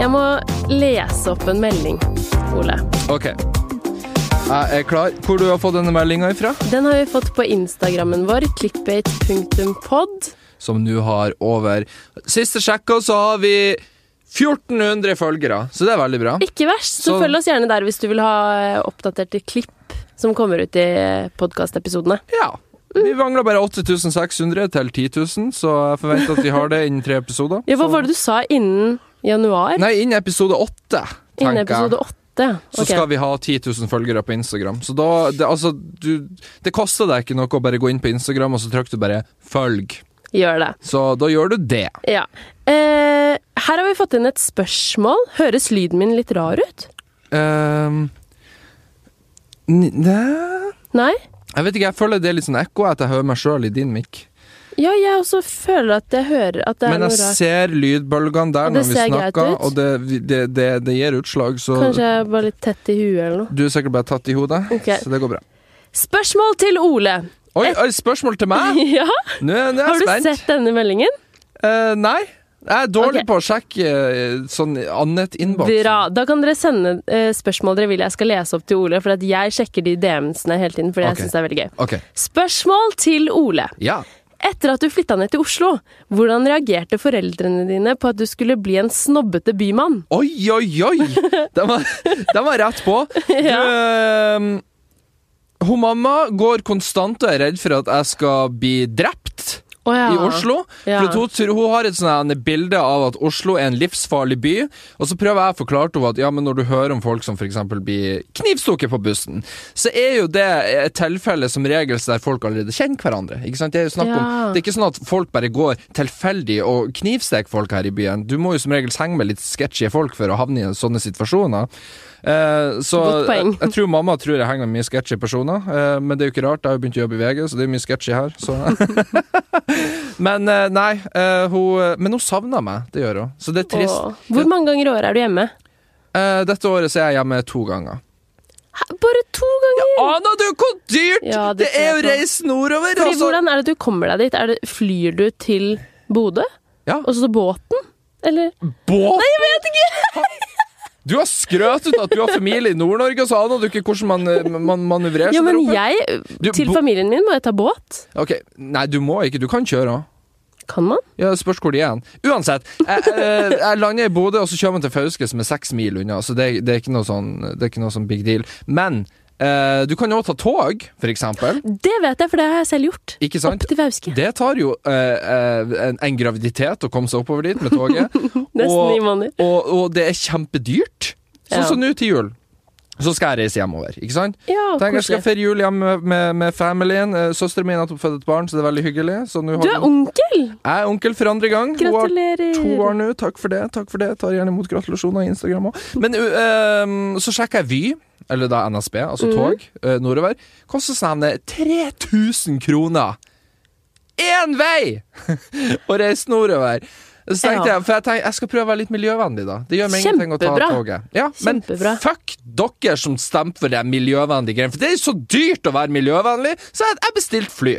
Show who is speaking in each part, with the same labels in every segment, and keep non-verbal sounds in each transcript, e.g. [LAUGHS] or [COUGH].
Speaker 1: Jeg må lese opp en melding, Ole.
Speaker 2: OK. Jeg er klar. Hvor du har fått denne meldinga ifra?
Speaker 1: Den har vi fått på Instagrammen vår, clickbait.pod.
Speaker 2: Som nå har over Siste sjekka så har vi 1400 følgere, så det er veldig bra.
Speaker 1: Ikke verst. Så,
Speaker 2: Så-
Speaker 1: følg oss gjerne der hvis du vil ha eh, oppdaterte klipp som kommer ut i podkastepisodene.
Speaker 2: Ja. Vi mangler bare 8600 til 10 000, så jeg forventer at vi har det innen tre episoder.
Speaker 1: Ja, hva
Speaker 2: Så-
Speaker 1: var det du sa innen januar?
Speaker 2: Nei, innen episode åtte,
Speaker 1: innen
Speaker 2: tenker jeg.
Speaker 1: episode åtte.
Speaker 2: Så
Speaker 1: Ok.
Speaker 2: skal vi ha 10 000 følgere på Instagram. Så da, det, altså, du, det koster deg ikke noe å bare gå inn på Instagram, og så trykker du bare 'følg'.
Speaker 1: Gjør det.
Speaker 2: Så da gjør du det.
Speaker 1: Ja. Eh, her har vi fått inn et spørsmål. Høres lyden min litt rar ut?
Speaker 2: Ehm, n- Nei
Speaker 1: Nei?
Speaker 2: Jeg vet ikke, jeg føler det er litt sånn ekko at jeg hører meg sjøl i din mic.
Speaker 1: Ja, jeg også føler at jeg hører at det er
Speaker 2: Men
Speaker 1: noe
Speaker 2: jeg
Speaker 1: rart.
Speaker 2: ser lydbølgene der
Speaker 1: Og det
Speaker 2: når vi
Speaker 1: ser greit
Speaker 2: snakker,
Speaker 1: ut.
Speaker 2: og det, vi- det, det, det gir utslag, så
Speaker 1: Kanskje jeg er bare litt tett i huet eller noe.
Speaker 2: Du er sikkert bare tatt i hodet,
Speaker 1: Ok.
Speaker 2: så det går bra.
Speaker 1: Spørsmål til Ole.
Speaker 2: Oi, oi spørsmål til meg!
Speaker 1: [LAUGHS] ja,
Speaker 2: Nå er nå er
Speaker 1: Har
Speaker 2: jeg
Speaker 1: du
Speaker 2: spent.
Speaker 1: sett denne meldingen?
Speaker 2: Eh, nei. Jeg er dårlig
Speaker 1: Ok.
Speaker 2: på å sjekke eh, sånn annet innboks.
Speaker 1: Bra. Da kan dere sende eh, spørsmål dere vil jeg skal lese opp til Ole, for at jeg sjekker de DM-ene hele tiden, fordi
Speaker 2: Ok.
Speaker 1: jeg syns det er veldig gøy.
Speaker 2: Ok.
Speaker 1: Spørsmål til Ole.
Speaker 2: Ja.
Speaker 1: Etter at du flytta ned til Oslo, hvordan reagerte foreldrene dine på at du skulle bli en snobbete bymann?
Speaker 2: Oi, oi, oi! Den var, den var rett på. Du, eh, hun mamma går konstant og er redd for at jeg skal bli drept.
Speaker 1: Å ja.
Speaker 2: i Oslo.
Speaker 1: Ja.
Speaker 2: For at hun, tror- hun har et sånn her bilde av at Oslo er en livsfarlig by, og så prøver jeg å forklare til henne at ja, men når du hører om folk som f.eks. blir knivstukket på bussen, så er jo det et tilfelle som regel der folk allerede kjenner hverandre. Ikke sant? Det er jo snakk om
Speaker 1: Ja.
Speaker 2: det er ikke sånn at folk bare går tilfeldig og knivsteker folk her i byen. Du må jo som regel henge med litt sketchy folk for å havne i sånne situasjoner. Eh, så
Speaker 1: Godt poeng.
Speaker 2: jeg, jeg tror mamma tror jeg henger med mye sketchy personer, eh, men det er jo ikke rart. Jeg har jo begynt å jobbe i VG, så det er jo mye sketchy her. Så. men eh, nei, eh, hun, men hun savner meg. Det gjør hun. Så det er trist.
Speaker 1: Åh. Hvor mange ganger i året er du hjemme?
Speaker 2: Eh, dette året så er jeg hjemme to ganger.
Speaker 1: Hæ, Bare to ganger!
Speaker 2: Aner du hvor dyrt
Speaker 1: Ja,
Speaker 2: det,
Speaker 1: det
Speaker 2: er å
Speaker 1: ser jeg på.
Speaker 2: reise nordover?
Speaker 1: Fordi,
Speaker 2: altså.
Speaker 1: Hvordan er det du kommer deg dit? Er det, flyr du til Bodø?
Speaker 2: Ja.
Speaker 1: Og så båten? Eller
Speaker 2: Båt?
Speaker 1: Nei, jeg vet ikke!
Speaker 2: Du har skrøt ut at du har familie i Nord-Norge, og så aner du ikke hvordan man, eh, man manøvrerer
Speaker 1: Ja,
Speaker 2: seg
Speaker 1: men
Speaker 2: der oppe.
Speaker 1: jeg,
Speaker 2: Du,
Speaker 1: til
Speaker 2: bo-
Speaker 1: familien min må jeg ta båt.
Speaker 2: Ok, Nei, du må ikke. Du kan kjøre òg.
Speaker 1: Kan man?
Speaker 2: Ja, det spørs hvor de er hen. Uansett. Jeg, eh, jeg lander i Bodø, og så kjører man til Fauske, som er seks mil unna. Så det, det, er, ikke noe sånn, det er ikke noe sånn big deal. Men eh, du kan jo også ta tog, for eksempel.
Speaker 1: Det vet jeg, for det har jeg selv gjort.
Speaker 2: Ikke sant?
Speaker 1: Opp til Fauske.
Speaker 2: Det tar jo eh, eh, en, en graviditet å komme seg oppover dit med
Speaker 1: [LAUGHS]
Speaker 2: toget.
Speaker 1: Nesten ni måneder.
Speaker 2: og, og det er kjempedyrt. Sånn
Speaker 1: Ja.
Speaker 2: som nå til jul. Så skal jeg reise hjemover, ikke sant?
Speaker 1: Ja,
Speaker 2: Tenk, jeg skal
Speaker 1: koselig.
Speaker 2: feire jul hjemme med, med, med familien. Eh, Søsteren min har nettopp født et barn, så det er veldig hyggelig. Så nå
Speaker 1: Du
Speaker 2: har
Speaker 1: er onkel!
Speaker 2: Jeg er onkel for andre gang. Hun har
Speaker 1: Gratulerer.
Speaker 2: To år nå, takk for det. Takk for det. Jeg tar gjerne imot gratulasjoner i Instagram òg. Men øhm, så sjekka jeg Vy, eller da NSB,
Speaker 1: Mm.
Speaker 2: altså tog øh, nordover. Koster sånn nevne 3000 kroner én vei [LAUGHS] å reise nordover! Så tenkte
Speaker 1: Ja.
Speaker 2: jeg, for jeg, tenk, jeg skal prøve å være litt miljøvennlig, da. Det gjør meg ingenting å ta
Speaker 1: Kjempebra.
Speaker 2: toget. Ja, men
Speaker 1: Kjempebra.
Speaker 2: fuck dere som stemte for de miljøvennlige greiene. For det er så dyrt å være miljøvennlig, så jeg, jeg bestilte fly.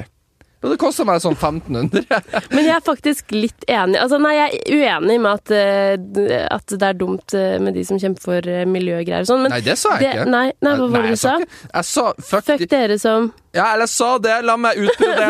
Speaker 2: Og det kosta meg sånn 1500.
Speaker 1: Men jeg er faktisk litt enig Altså, nei, jeg er uenig med at, eh, d- at det er dumt eh, med de som kjemper for eh, miljøgreier og sånn, men
Speaker 2: [LAUGHS] Nei, det sa jeg
Speaker 1: det-
Speaker 2: ikke.
Speaker 1: Nei, nei, hva var det du
Speaker 2: jeg
Speaker 1: sa?
Speaker 2: ikke- Jeg sa fuck,
Speaker 1: Fuck
Speaker 2: de-
Speaker 1: dere som
Speaker 2: Ja, eller jeg sa det. La meg utbrodere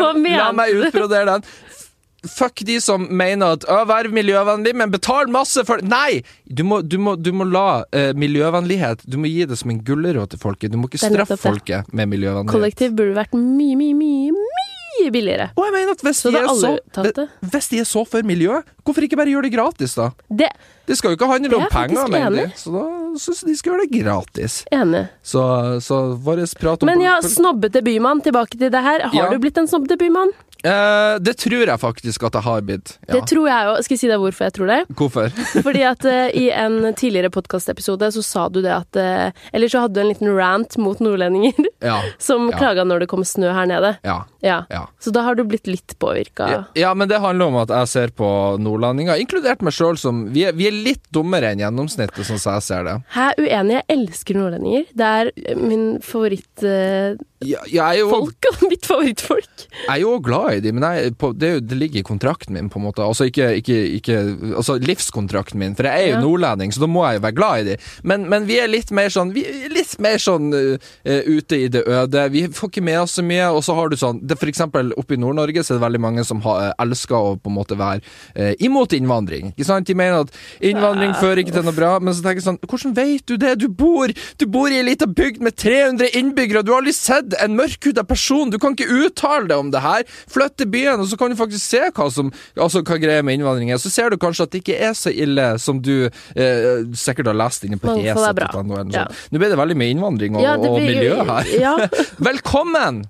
Speaker 1: [LAUGHS] Hva
Speaker 2: den. La
Speaker 1: mente
Speaker 2: meg
Speaker 1: du?
Speaker 2: utbrodere den. F- Fuck de som mener at «Å, vær miljøvennlig, men betal masse for Nei! Du må, du må, du må la eh, miljøvennlighet Du må gi det som en gulrot til folket. Du må
Speaker 1: Det
Speaker 2: ikke
Speaker 1: er nettopp
Speaker 2: straffe folket med miljøvennlighet.
Speaker 1: kollektiv burde vært mye, mye, mye, mye billigere.
Speaker 2: Og jeg mener at hvis
Speaker 1: Så
Speaker 2: de,
Speaker 1: da
Speaker 2: er så,
Speaker 1: alle tatt det?
Speaker 2: hvis de er så for miljøet, hvorfor ikke bare gjøre det gratis, da?
Speaker 1: Det
Speaker 2: Det skal jo ikke handle
Speaker 1: Det er
Speaker 2: om
Speaker 1: jeg
Speaker 2: penger,
Speaker 1: faktisk
Speaker 2: mener de.
Speaker 1: enig.
Speaker 2: Så da syns jeg de skal gjøre det gratis.
Speaker 1: Enig.
Speaker 2: Så, så vår prat om
Speaker 1: Men ja,
Speaker 2: pol-
Speaker 1: snobbete bymann, tilbake til det her. Har
Speaker 2: Ja.
Speaker 1: du blitt en snobbete bymann?
Speaker 2: Eh, det tror jeg faktisk at jeg har blitt. Ja.
Speaker 1: Det tror jeg òg. Skal jeg si deg hvorfor jeg tror
Speaker 2: [LAUGHS]
Speaker 1: det?
Speaker 2: Hvorfor?
Speaker 1: Fordi at eh, i en tidligere podkastepisode så sa du det at eh, Eller så hadde du en liten rant mot nordlendinger [LAUGHS]
Speaker 2: Ja.
Speaker 1: som
Speaker 2: Ja.
Speaker 1: klaga når det kom snø her nede.
Speaker 2: Ja.
Speaker 1: Ja.
Speaker 2: Ja.
Speaker 1: Så da har du blitt litt påvirka.
Speaker 2: Ja, ja, men det handler om at jeg ser på nordlendinger, inkludert meg sjøl, som vi er, vi er litt dummere enn gjennomsnittet, sånn som jeg ser det.
Speaker 1: Hæ, uenig. Jeg elsker nordlendinger. Det er eh, min favoritt eh,
Speaker 2: Jeg, jeg er jo
Speaker 1: folk [LAUGHS] og mitt favorittfolk.
Speaker 2: Jeg er jo glad i de, men jeg, på, det, er jo- det ligger i kontrakten min, på en måte. Altså, ikke, ikke, ikke, altså livskontrakten min, for jeg er jo
Speaker 1: Ja.
Speaker 2: nordlending, så da må jeg jo være glad i de. Men, men vi er litt mer sånn, vi er litt mer sånn eh, ute i det øde. Vi får ikke med oss så mye, og så har du sånn det, For eksempel oppe i Nord-Norge så er det veldig mange som har, eh, elsker å på en måte være eh, imot innvandring. Ikke sant? De mener at innvandring fører ikke til noe bra, men så tenker jeg sånn Hvordan vet du det? Du bor Du bor i ei lita bygd med 300 innbyggere, og du har aldri sett en mørkhuda person! Du kan ikke uttale deg om det her! Flytt til byen, og så kan du faktisk se hva som Altså hva greia med innvandring er. Så ser du kanskje at det ikke er så ille som du eh, sikkert har lest inne på
Speaker 1: Mangfold er bra.
Speaker 2: Resett.no. eller noe
Speaker 1: Ja.
Speaker 2: sånt. Nå ble det veldig mye innvandring og,
Speaker 1: Ja, det
Speaker 2: og
Speaker 1: blir-
Speaker 2: miljø her.
Speaker 1: Ja.
Speaker 2: Velkommen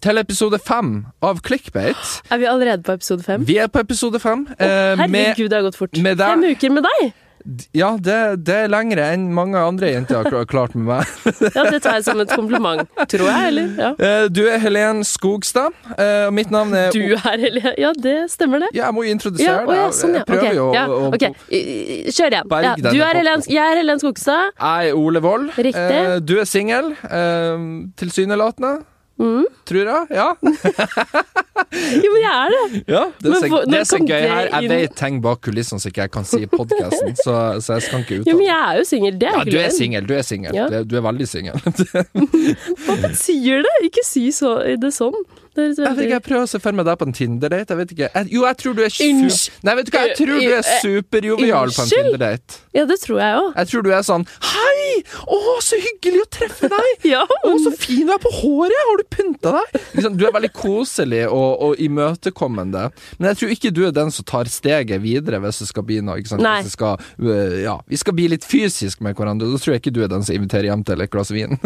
Speaker 2: til episode fem av Clickbait.
Speaker 1: Er vi allerede på episode fem?
Speaker 2: Vi er på episode fem. eh, [LAUGHS] med,
Speaker 1: Herregud, det har gått fort.
Speaker 2: med deg-
Speaker 1: Fem uker med deg!
Speaker 2: ja, det, det er lengre enn mange andre jenter har kla- klart med meg.
Speaker 1: Ja, Det tar jeg som et kompliment, tror jeg. Eller? Ja.
Speaker 2: Eh, Du er Helen Skogstad, eh, og mitt navn er
Speaker 1: Du er Helene. Ja, det stemmer, det.
Speaker 2: Ja, jeg må jo
Speaker 1: Ja,
Speaker 2: introdusere
Speaker 1: å, ja,
Speaker 2: deg.
Speaker 1: sånn, ja.
Speaker 2: Jeg prøver
Speaker 1: Ok,
Speaker 2: jo å-
Speaker 1: ja.
Speaker 2: å
Speaker 1: ok. I- i- Kjør igjen.
Speaker 2: Berg
Speaker 1: Ja,
Speaker 2: denne
Speaker 1: du er
Speaker 2: podcasten.
Speaker 1: Helen, jeg er Helen Skogstad.
Speaker 2: Jeg er Ole Wold.
Speaker 1: Riktig.
Speaker 2: Eh, Du er singel. eh, Tilsynelatende.
Speaker 1: Mm.
Speaker 2: Tror jeg. Ja.
Speaker 1: [LAUGHS] Jo, men jeg er det!
Speaker 2: ja det er
Speaker 1: Men
Speaker 2: så,
Speaker 1: hvor-
Speaker 2: det er så
Speaker 1: når kom
Speaker 2: gøy
Speaker 1: det
Speaker 2: her. Jeg
Speaker 1: inn?
Speaker 2: vet ting bak kulissene som ikke jeg kan si i podkasten, så, så jeg skal ikke
Speaker 1: Jo,
Speaker 2: uttale
Speaker 1: men jeg er jo singel. Det er
Speaker 2: Ja,
Speaker 1: ikke
Speaker 2: du er
Speaker 1: løgn.
Speaker 2: singel, du er singel.
Speaker 1: Ja.
Speaker 2: Du, er- du er veldig singel.
Speaker 1: [LAUGHS] Hvorfor sier det? Ikke si så, det sånn. Det høres
Speaker 2: Jeg vet ikke,
Speaker 1: veldig
Speaker 2: jeg prøver å se for meg deg på en Tinder-date. Jeg vet ikke. Jeg, jo, jeg tror du er su-
Speaker 1: Unnskyld. Eh,
Speaker 2: Nei, vet du hva, jeg tror du er superjovial på en
Speaker 1: Unnskyld.
Speaker 2: Tinder-date.
Speaker 1: Ja, det tror jeg òg.
Speaker 2: Jeg tror du er sånn Hei! Å, så hyggelig å treffe deg!
Speaker 1: Ja,
Speaker 2: Å, så fin du er på håret! Har du pynta deg? Ikke sant? du er veldig koselig og, og imøtekommende. Men jeg tror ikke du er den som tar steget videre hvis det skal bli noe. Ikke sant?
Speaker 1: Nei.
Speaker 2: Hvis det skal, øh, ja, vi skal bli litt fysisk med hverandre. Da tror jeg ikke du er den som inviterer hjem til et glass vin.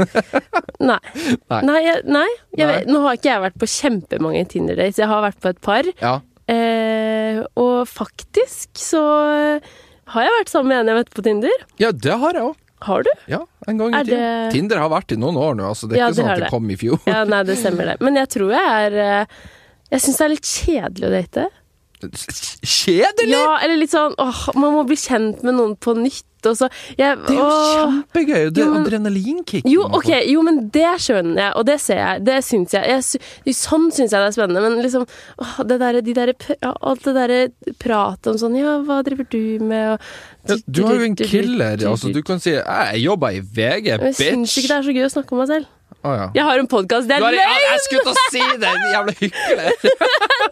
Speaker 2: [LAUGHS]
Speaker 1: Nei.
Speaker 2: Nei.
Speaker 1: Nei, jeg, nei, jeg
Speaker 2: Nei.
Speaker 1: Vet, nå har ikke jeg vært på kjempemange Tinder-dates. Jeg har vært på et par.
Speaker 2: ja.
Speaker 1: Eh, og faktisk så har jeg vært sammen med en jeg møtte på Tinder.
Speaker 2: ja, det har jeg òg.
Speaker 1: Har du?
Speaker 2: Ja, en gang i
Speaker 1: Er
Speaker 2: tiden.
Speaker 1: det-
Speaker 2: Tinder har vært i noen år nå, altså. Det er
Speaker 1: Ja,
Speaker 2: ikke
Speaker 1: det
Speaker 2: sånn
Speaker 1: har
Speaker 2: at det
Speaker 1: det.
Speaker 2: kom i fjor.
Speaker 1: Ja, nei, det stemmer det. Men jeg tror jeg er eh, Jeg syns det er litt kjedelig å date.
Speaker 2: Kjedelig!
Speaker 1: Ja, eller litt sånn åh, man må bli kjent med noen på nytt, og så jeg,
Speaker 2: Det er jo
Speaker 1: åh.
Speaker 2: kjempegøy! Det
Speaker 1: Jo,
Speaker 2: er
Speaker 1: men-
Speaker 2: adrenalinkick.
Speaker 1: Jo, ok, jo, men det skjønner jeg, og det ser jeg. Det syns jeg. jeg sy sånn syns jeg det er spennende, men liksom åh, det der, de der, pr- ja, Alt det derre pratet om sånn Ja, hva driver du med?
Speaker 2: Ja,
Speaker 1: Og,
Speaker 2: Du har jo en killer. Altså, du kan si 'jeg jobber i VG,
Speaker 1: Jeg syns
Speaker 2: bitch'.
Speaker 1: ikke det er så gøy å snakke om meg selv.
Speaker 2: Å, ja.
Speaker 1: Jeg har en podkast, det
Speaker 2: Du
Speaker 1: er
Speaker 2: har, ja,
Speaker 1: løgn!
Speaker 2: jeg skulle til å si det! din Jævla hyggelig!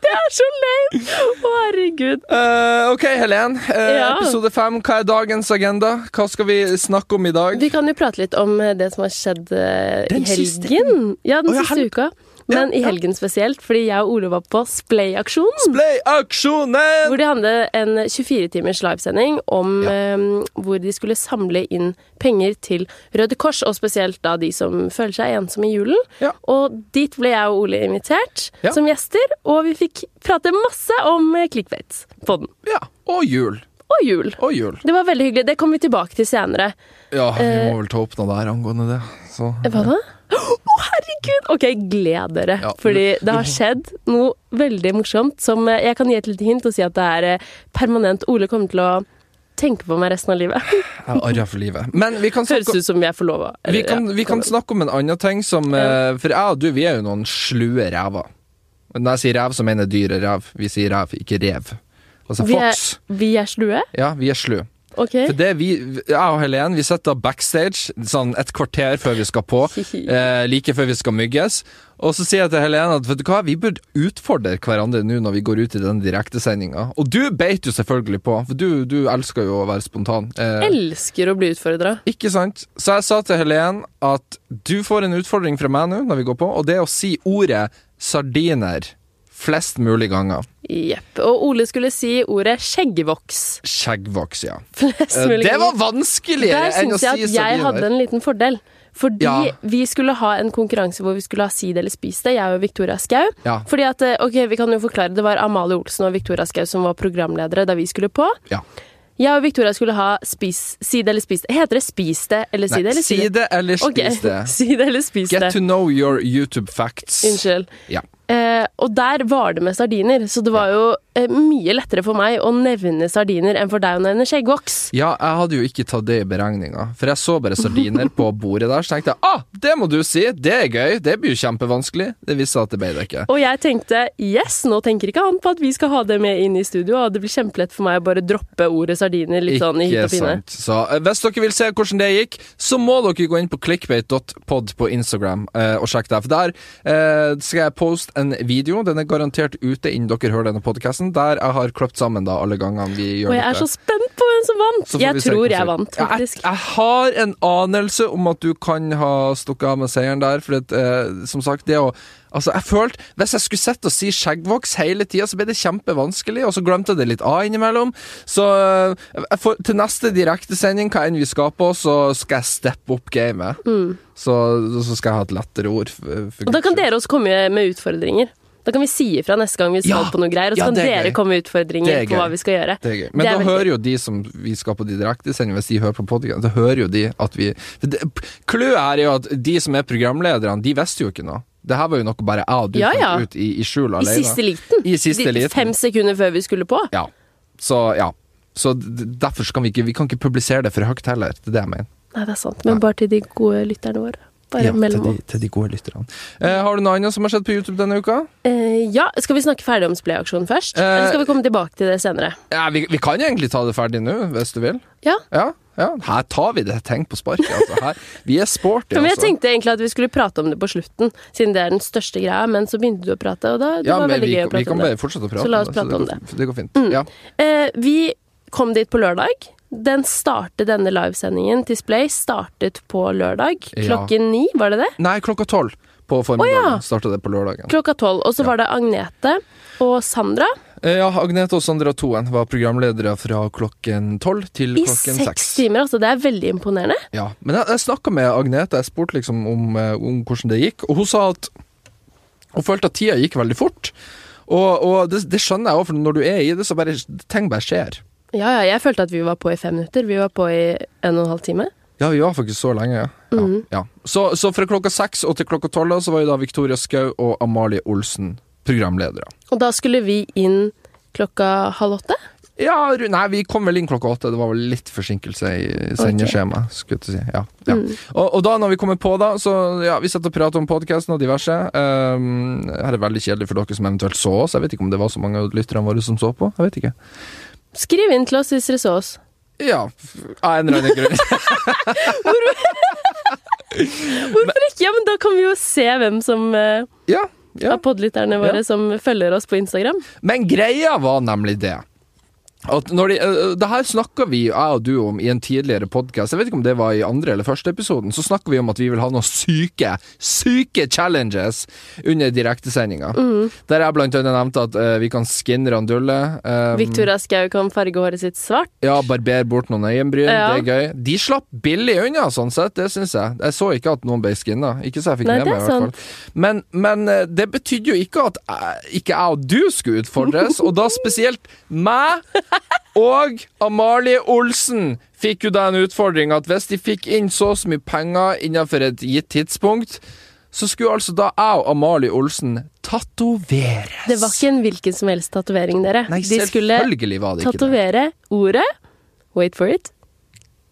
Speaker 1: Det er så løgn! Å, herregud.
Speaker 2: [LAUGHS] Eh, ok, Helen. Eh,
Speaker 1: Ja.
Speaker 2: Episode fem. Hva er dagens agenda? Hva skal vi snakke om i dag?
Speaker 1: Vi kan jo prate litt om eh, det som har skjedd eh,
Speaker 2: Den
Speaker 1: i
Speaker 2: siste-
Speaker 1: helgen. Ja, den
Speaker 2: Å, ja,
Speaker 1: siste
Speaker 2: hel-
Speaker 1: uka.
Speaker 2: Ja,
Speaker 1: Men i
Speaker 2: ja.
Speaker 1: helgen spesielt, fordi jeg og Ole var på Splay-aksjon.
Speaker 2: Splay-aksjonen!
Speaker 1: Hvor de hadde en 24-timers livesending om eh, hvor de skulle samle inn penger til Røde Kors, og spesielt da de som føler seg ensomme i julen.
Speaker 2: Ja.
Speaker 1: Og dit ble jeg og Ole invitert
Speaker 2: Ja.
Speaker 1: som gjester, og vi fikk prate masse om eh, clickbait på den.
Speaker 2: Ja. Og jul.
Speaker 1: Og jul.
Speaker 2: Og jul.
Speaker 1: Det var veldig hyggelig. Det kommer vi tilbake til senere.
Speaker 2: Ja, vi må vel ta opp noe der angående det. Så.
Speaker 1: Hva da? Å, herregud! Ok, gled dere.
Speaker 2: Ja.
Speaker 1: Fordi det har skjedd noe veldig morsomt som eh, Jeg kan gi et lite hint og si at det er eh, permanent. Ole kommer til å tenke på meg resten av
Speaker 2: [LAUGHS]
Speaker 1: livet.
Speaker 2: Jeg er arra for livet. Men vi kan
Speaker 1: Høres
Speaker 2: snakke
Speaker 1: ut som vi er forlova.
Speaker 2: vi kan, vi kan snakke om en annen ting som eh, For jeg og du, vi er jo noen slue rever. Og Når jeg sier rev, så mener jeg dyre rev. Vi sier rev, ikke rev. Altså
Speaker 1: Vi er,
Speaker 2: fox.
Speaker 1: vi er slue?
Speaker 2: Ja, vi er slu.
Speaker 1: Ok.
Speaker 2: For det vi, jeg og Helen, vi sitter backstage sånn et kvarter før vi skal
Speaker 1: [LAUGHS]
Speaker 2: på, eh, like før vi skal mygges. Og så sier jeg til Helen at vet du hva, vi burde utfordre hverandre nå når vi går ut i den direktesendinga. Og du beit jo selvfølgelig på, for du, du elsker jo å være spontan. Eh,
Speaker 1: Elsker å bli utfordra.
Speaker 2: ikke sant? Så jeg sa til Helen at du får en utfordring fra meg nå når vi går på, og det er å si ordet sardiner flest mulig ganger.
Speaker 1: Jepp. Og Ole skulle si ordet skjeggvoks.
Speaker 2: Skjeggvoks, ja.
Speaker 1: Flest
Speaker 2: Eh,
Speaker 1: mulig
Speaker 2: det var
Speaker 1: ganger.
Speaker 2: vanskeligere
Speaker 1: Der
Speaker 2: enn å
Speaker 1: syns
Speaker 2: si
Speaker 1: jeg at
Speaker 2: sardiner.
Speaker 1: jeg hadde en liten fordel. Fordi
Speaker 2: Ja.
Speaker 1: vi skulle ha en konkurranse hvor vi skulle ha si det eller spis det, jeg og Victoria Skau.
Speaker 2: Ja.
Speaker 1: Fordi at, eh, ok, vi kan jo forklare Det var Amalie Olsen og Victoria Skau som var programledere da vi skulle på.
Speaker 2: Ja.
Speaker 1: Jeg og Victoria skulle ha spis, si det eller spis det. Heter det spis det eller si det?
Speaker 2: Nei,
Speaker 1: eller
Speaker 2: si det eller spis
Speaker 1: Ok,
Speaker 2: det.
Speaker 1: si det eller [LAUGHS] spis
Speaker 2: Get to
Speaker 1: det.
Speaker 2: know your YouTube facts.
Speaker 1: Unnskyld.
Speaker 2: Ja.
Speaker 1: Eh, og der var det med sardiner, så det var jo eh, mye lettere for meg å nevne sardiner enn for deg å nevne skjeggvoks.
Speaker 2: Ja, jeg hadde jo ikke tatt det i beregninga, for jeg så bare sardiner på bordet der, så tenkte jeg ah, det må du si, det er gøy, det blir jo kjempevanskelig. Det viste seg at det ble det ikke.
Speaker 1: Og jeg tenkte yes, nå tenker ikke han på at vi skal ha det med inn i studio, og det blir kjempelett for meg å bare droppe ordet sardiner litt sånn i hytt og pine.
Speaker 2: sant. Så eh, hvis dere vil se hvordan det gikk, så må dere gå inn på clickbait.pod på Instagram eh, og sjekke det. For der eh, skal jeg poste en video, den er garantert ute innen dere hører denne podkasten, der jeg har kløpt sammen da alle gangene vi gjør
Speaker 1: Og jeg er så spent på hvem som vant!
Speaker 2: Så får vi
Speaker 1: Jeg
Speaker 2: se
Speaker 1: tror
Speaker 2: hvordan det-
Speaker 1: jeg vant,
Speaker 2: Ja,
Speaker 1: faktisk.
Speaker 2: Jeg, jeg har en anelse om at du kan ha stukket av med seieren der, for det, eh, som sagt, det å Altså, jeg følte Hvis jeg skulle sett og si skjeggvoks hele tida, så ble det kjempevanskelig, og så glemte jeg det litt av innimellom. Så eh, jeg får, til neste direktesending, hva enn vi skal på, så skal jeg steppe opp gamet. Så, så skal jeg ha et lettere ord. For, for
Speaker 1: Mm. Og da kan
Speaker 2: Guds skyld.
Speaker 1: dere også komme med utfordringer. Da kan vi si ifra neste gang vi skal
Speaker 2: Ja!
Speaker 1: på noe greier, og så
Speaker 2: Ja,
Speaker 1: kan
Speaker 2: det er
Speaker 1: dere
Speaker 2: gøy.
Speaker 1: komme med
Speaker 2: Det er
Speaker 1: utfordringer på
Speaker 2: gøy.
Speaker 1: hva vi skal gjøre.
Speaker 2: Det er gøy. Men
Speaker 1: Det er
Speaker 2: da
Speaker 1: veldig
Speaker 2: hører jo de som vi skal på de direktesendingene, hvis de hører på podkasten, da hører jo de at vi for det- p- Clouet her er jo at de som er programlederne, de visste jo ikke noe. Det her var jo noe bare jeg og du
Speaker 1: Ja, ja.
Speaker 2: fant ut i, i skjul
Speaker 1: I
Speaker 2: alene.
Speaker 1: siste liten.
Speaker 2: I siste
Speaker 1: De-
Speaker 2: liten.
Speaker 1: Fem sekunder før vi skulle på.
Speaker 2: Ja. Så ja. Så d- derfor så kan vi ikke Vi kan ikke publisere det for høyt heller. Det er det jeg mener.
Speaker 1: Nei, det er sant. Men bare til de gode lytterne våre. Bare
Speaker 2: Ja, til,
Speaker 1: mellom
Speaker 2: de, til de gode lytterne. Eh, har du noe annet som har skjedd på YouTube denne uka?
Speaker 1: Eh, ja, Skal vi snakke ferdig om Splay-aksjonen først?
Speaker 2: Eh,
Speaker 1: Eller skal vi komme tilbake til det senere?
Speaker 2: Ja, vi, vi kan egentlig ta det ferdig nå, hvis du vil.
Speaker 1: Ja.
Speaker 2: Ja, ja. Her tar vi det. Tenk på sparket, altså. Her, vi er sporty,
Speaker 1: For Jeg
Speaker 2: altså.
Speaker 1: tenkte egentlig at vi skulle prate om det på slutten, siden det er den største greia, men så begynte du å prate, og da det
Speaker 2: Ja,
Speaker 1: var
Speaker 2: men
Speaker 1: veldig
Speaker 2: vi,
Speaker 1: gøy å
Speaker 2: vi
Speaker 1: prate
Speaker 2: kan
Speaker 1: om det.
Speaker 2: bare fortsette å prate
Speaker 1: Så la oss prate
Speaker 2: det
Speaker 1: om
Speaker 2: går, det går fint. Ja.
Speaker 1: Eh, vi kom dit på lørdag. Den startet denne livesendingen til Splay startet på lørdag
Speaker 2: Ja.
Speaker 1: klokken ni, var det det?
Speaker 2: Nei, klokka tolv på formiddagen.
Speaker 1: Å, ja.
Speaker 2: Starta det på lørdagen.
Speaker 1: Klokka tolv. Og så var det Agnete og Sandra
Speaker 2: Eh, Ja, Agnete og Sandra Toen var programledere fra klokken tolv til
Speaker 1: i
Speaker 2: klokken
Speaker 1: seks
Speaker 2: seks.
Speaker 1: timer. Altså, det er veldig imponerende.
Speaker 2: Ja. Men jeg, jeg snakka med Agnete, jeg spurte liksom om, eh, om hvordan det gikk, og hun sa at hun følte at tida gikk veldig fort. Og, og det, det skjønner jeg òg, for når du er i det, så bare ting bare skjer.
Speaker 1: Ja, ja, jeg følte at vi var på i fem minutter. Vi var på i en og en halv time.
Speaker 2: Ja, vi var faktisk så lenge, ja. ja, ja. Så, så fra klokka seks og til klokka tolv da, så var jo da Victoria Skau og Amalie Olsen programledere.
Speaker 1: Og da skulle vi inn klokka halv åtte.
Speaker 2: Ja, ru- nei, vi kom vel inn klokka åtte. Det var vel litt forsinkelse i sendeskjemaet. skulle jeg til å Si. Ja, ja. Og, og da når vi kommer på, da, så ja, vi sitter og prater om podkasten og diverse. Um, her er veldig kjedelig for dere som eventuelt så oss. Jeg vet ikke om det var så mange av lytterne våre som så på. Jeg vet ikke.
Speaker 1: Skriv inn til oss hvis dere så oss.
Speaker 2: Ja, f- av en eller annen grunn.
Speaker 1: Hvorfor ikke? Ja, men da kan vi jo se hvem som eh,
Speaker 2: ja, ja.
Speaker 1: av podlytterne våre
Speaker 2: Ja.
Speaker 1: som følger oss på Instagram.
Speaker 2: Men greia var nemlig det at når de, øh, det her snakka vi, jeg og du, om i en tidligere podkast. Jeg vet ikke om det var i andre eller første episoden. Så snakka vi om at vi vil ha noen syke, syke challenges under direktesendinga. Der jeg blant annet nevnte at øh, vi kan skinne Randulle. øh,
Speaker 1: Victoria Skau kan farge håret sitt svart.
Speaker 2: ja, barber bort noen øyenbryn.
Speaker 1: Ja.
Speaker 2: Det er gøy. De slapp billig unna, sånn sett. Det syns jeg. Jeg så ikke at noen ble skinna. Ikke så jeg fikk
Speaker 1: Nei,
Speaker 2: med
Speaker 1: det er
Speaker 2: meg, i hvert fall. Men, men eh, det betydde jo ikke at jeg, ikke jeg og du skulle utfordres, og da spesielt meg og Amalie Olsen fikk jo da en utfordring at hvis de fikk inn så og så mye penger innenfor et gitt tidspunkt, så skulle altså da jeg og Amalie Olsen tatoveres.
Speaker 1: Det var ikke en hvilken som helst tatovering, dere.
Speaker 2: Nei,
Speaker 1: De skulle
Speaker 2: selvfølgelig var det ikke det.
Speaker 1: tatovere ordet Wait for it.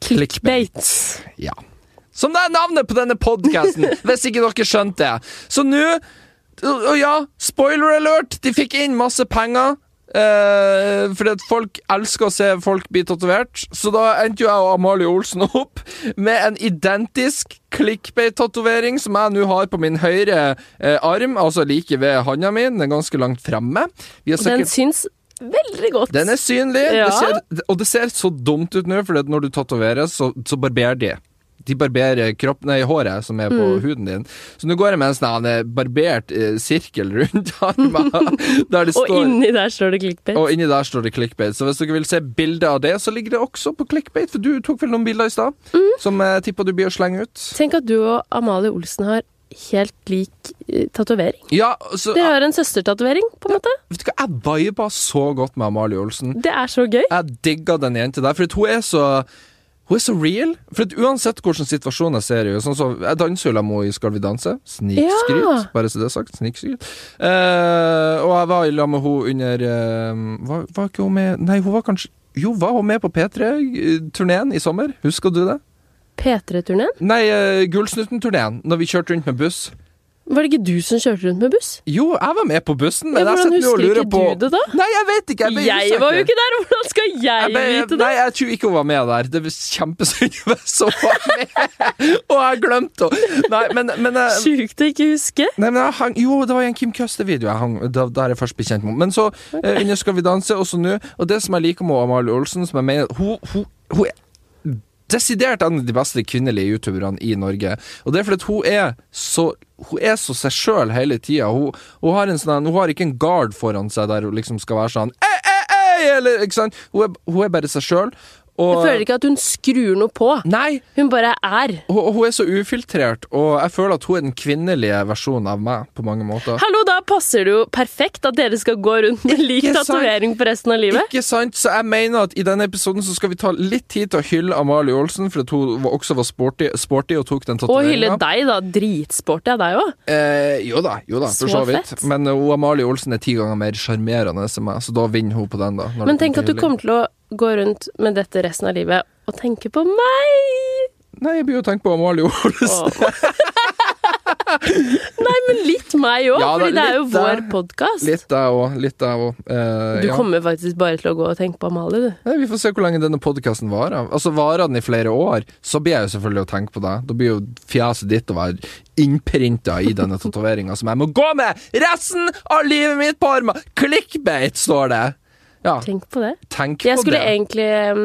Speaker 1: Clickbait.
Speaker 2: Ja. Som det er navnet på denne
Speaker 1: [LAUGHS]
Speaker 2: podkasten, hvis ikke dere skjønte det. Så nå og- Og ja, spoiler alert! De fikk inn masse penger. Eh, fordi at folk elsker å se folk bli tatovert. Så da endte jo jeg og Amalie Olsen opp med en identisk clickbait-tatovering som jeg nå har på min høyre eh, arm, altså like ved handa mi. Den er ganske langt fremme. Vi har
Speaker 1: Og den
Speaker 2: sikkert-
Speaker 1: syns veldig godt.
Speaker 2: den er synlig,
Speaker 1: Ja.
Speaker 2: det ser, og det ser så dumt ut nå, for når du tatoveres, så, så barberer de. De barberer kropp, nei, håret som er på
Speaker 1: Mm.
Speaker 2: huden din. Så nå går jeg med en sånn eh, barbert eh, sirkel rundt [LAUGHS] armen. der det
Speaker 1: Og
Speaker 2: står,
Speaker 1: inni der står det clickbait.
Speaker 2: og inni der står det clickbait. Så hvis dere vil se bilder av det, så ligger det også på clickbait, for du tok vel noen bilder i stad
Speaker 1: Mm.
Speaker 2: som jeg tippa du blir å slenge ut.
Speaker 1: Tenk at du og Amalie Olsen har helt lik eh, tatovering.
Speaker 2: Ja, så,
Speaker 1: Dere har en søstertatovering, på en måte.
Speaker 2: vet du hva, jeg viba så godt med Amalie Olsen.
Speaker 1: Det er så gøy.
Speaker 2: Jeg digga den jenta der, for hun er så Hun er så real. For at uansett hvordan situasjonen jeg ser i sånn som Jeg danser jo sammen med henne i Skal vi danse. Snikskryt,
Speaker 1: Ja.
Speaker 2: bare så det er sagt. Snikskryt. Eh, og jeg var i lag med henne under eh, var, var ikke hun med Nei, hun var kanskje Jo, var hun med på P3-turneen i sommer? Husker du det?
Speaker 1: P3-turneen?
Speaker 2: Nei, uh, Gullsnutten-turneen, når vi kjørte rundt med buss.
Speaker 1: Var det ikke du som kjørte rundt med buss?
Speaker 2: Jo, jeg var med på bussen, men
Speaker 1: Ja,
Speaker 2: jeg
Speaker 1: hvordan
Speaker 2: sitter nå og
Speaker 1: husker
Speaker 2: lurer
Speaker 1: ikke
Speaker 2: på
Speaker 1: du det da?
Speaker 2: Nei, jeg vet ikke! Jeg, ble
Speaker 1: Jeg var jo
Speaker 2: usikker.
Speaker 1: ikke der! Hvordan skal jeg,
Speaker 2: Jeg ble-
Speaker 1: vite det?
Speaker 2: Nei, jeg tror ikke hun var med der. Det var kjempesynd hvis hun var med! [LAUGHS] og jeg glemte henne! Nei, men, men eh, jeg-
Speaker 1: Sjukt å ikke huske.
Speaker 2: Nei, men jeg hang, jo, det var i en Kim Custer-video jeg hang da, der jeg først ble kjent med henne. Men så eh, under Skal vi danse, også nå. Og det som jeg liker med Amalie Olsen, som jeg mener Hun, hun, hun er desidert en av de beste kvinnelige youtuberne i Norge. Og det er fordi at hun er så hun er så seg sjøl hele tida. Hun, hun, har en sånn, hun har ikke en guard foran seg der hun liksom skal være sånn ei, ei, ei, eller, ikke sant? Hun, er, hun er bare seg sjøl.
Speaker 1: Jeg føler ikke at hun skrur noe på.
Speaker 2: Nei,
Speaker 1: Hun bare er.
Speaker 2: hun, hun er så ufiltrert, og jeg føler at hun er den kvinnelige versjonen av meg på mange måter.
Speaker 1: Hallo, da passer det jo perfekt at dere skal gå rundt med lik
Speaker 2: Ikke sant?
Speaker 1: tatovering for resten av livet.
Speaker 2: Ikke sant? Så jeg mener at i denne episoden så skal vi ta litt tid til å hylle Amalie Olsen, for at hun var- også var sporty, sporty og tok den
Speaker 1: Og hylle
Speaker 2: tatoveringa.
Speaker 1: deg, da. Dritsporty av deg òg.
Speaker 2: Eh, jo da, jo da, for
Speaker 1: Så
Speaker 2: så vidt.
Speaker 1: fett.
Speaker 2: Men eh, hun Amalie Olsen er ti ganger mer sjarmerende enn meg, så da vinner hun på den, da. når det
Speaker 1: Men tenk at
Speaker 2: kommer
Speaker 1: du
Speaker 2: til hylling.
Speaker 1: kommer til å gå rundt med dette resten av livet og tenke på meg!
Speaker 2: Nei, jeg begynner å tenke på Amalie Olsen.
Speaker 1: Åh.
Speaker 2: [LAUGHS]
Speaker 1: Nei, men litt meg òg,
Speaker 2: Ja, da,
Speaker 1: Fordi det er jo
Speaker 2: litt
Speaker 1: vår
Speaker 2: deg.
Speaker 1: podkast.
Speaker 2: Litt der òg, litt der òg. Eh,
Speaker 1: Du
Speaker 2: ja.
Speaker 1: kommer faktisk bare til å gå og tenke på Amalie, du.
Speaker 2: Nei, vi får se hvor lenge denne podkasten varer. Altså, Varer den i flere år, så blir jeg jo selvfølgelig å tenke på deg. Da blir jo fjeset ditt å være innprinta i denne tatoveringa som jeg må gå med resten av livet mitt på armen! Clickbait, står det! Ja,
Speaker 1: Tenk på det.
Speaker 2: tenk
Speaker 1: Jeg
Speaker 2: på
Speaker 1: skulle
Speaker 2: det.
Speaker 1: egentlig em,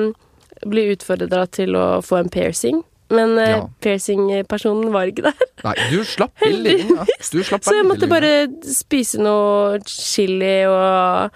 Speaker 1: bli utfordra til å få en piercing, men eh,
Speaker 2: Ja.
Speaker 1: piercingpersonen var ikke der.
Speaker 2: Nei, du slapp billig unna. Du slapp
Speaker 1: Så jeg
Speaker 2: veldig
Speaker 1: måtte
Speaker 2: billig
Speaker 1: bare spise noe chili og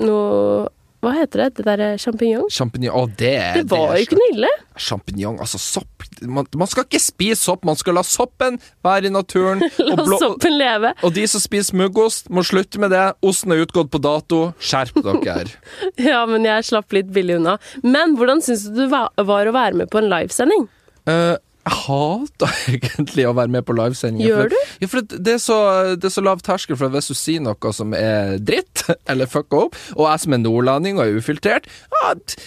Speaker 1: noe Hva heter det? Det derre sjampinjong?
Speaker 2: unna. Champignon Å, det er
Speaker 1: Det var jo ikke noe ille.
Speaker 2: Sjampinjong, altså sopp man, man skal ikke spise sopp, man skal la soppen være i naturen.
Speaker 1: [LAUGHS] La
Speaker 2: og blå-
Speaker 1: soppen leve.
Speaker 2: Og de som spiser muggost, må slutte med det. Osten er utgått på dato. Skjerp dere.
Speaker 1: Ja, men jeg slapp litt billig unna. Men hvordan syns du det va- var å være med på en livesending?
Speaker 2: Eh, jeg hater [LAUGHS] egentlig å være med på livesendinger.
Speaker 1: Gjør
Speaker 2: for- Ja, for det det er, så, det er så lav terskel for at hvis du sier noe som er dritt, [LAUGHS] eller fucka opp, og jeg som er nordlending og er ufiltrert ja, t-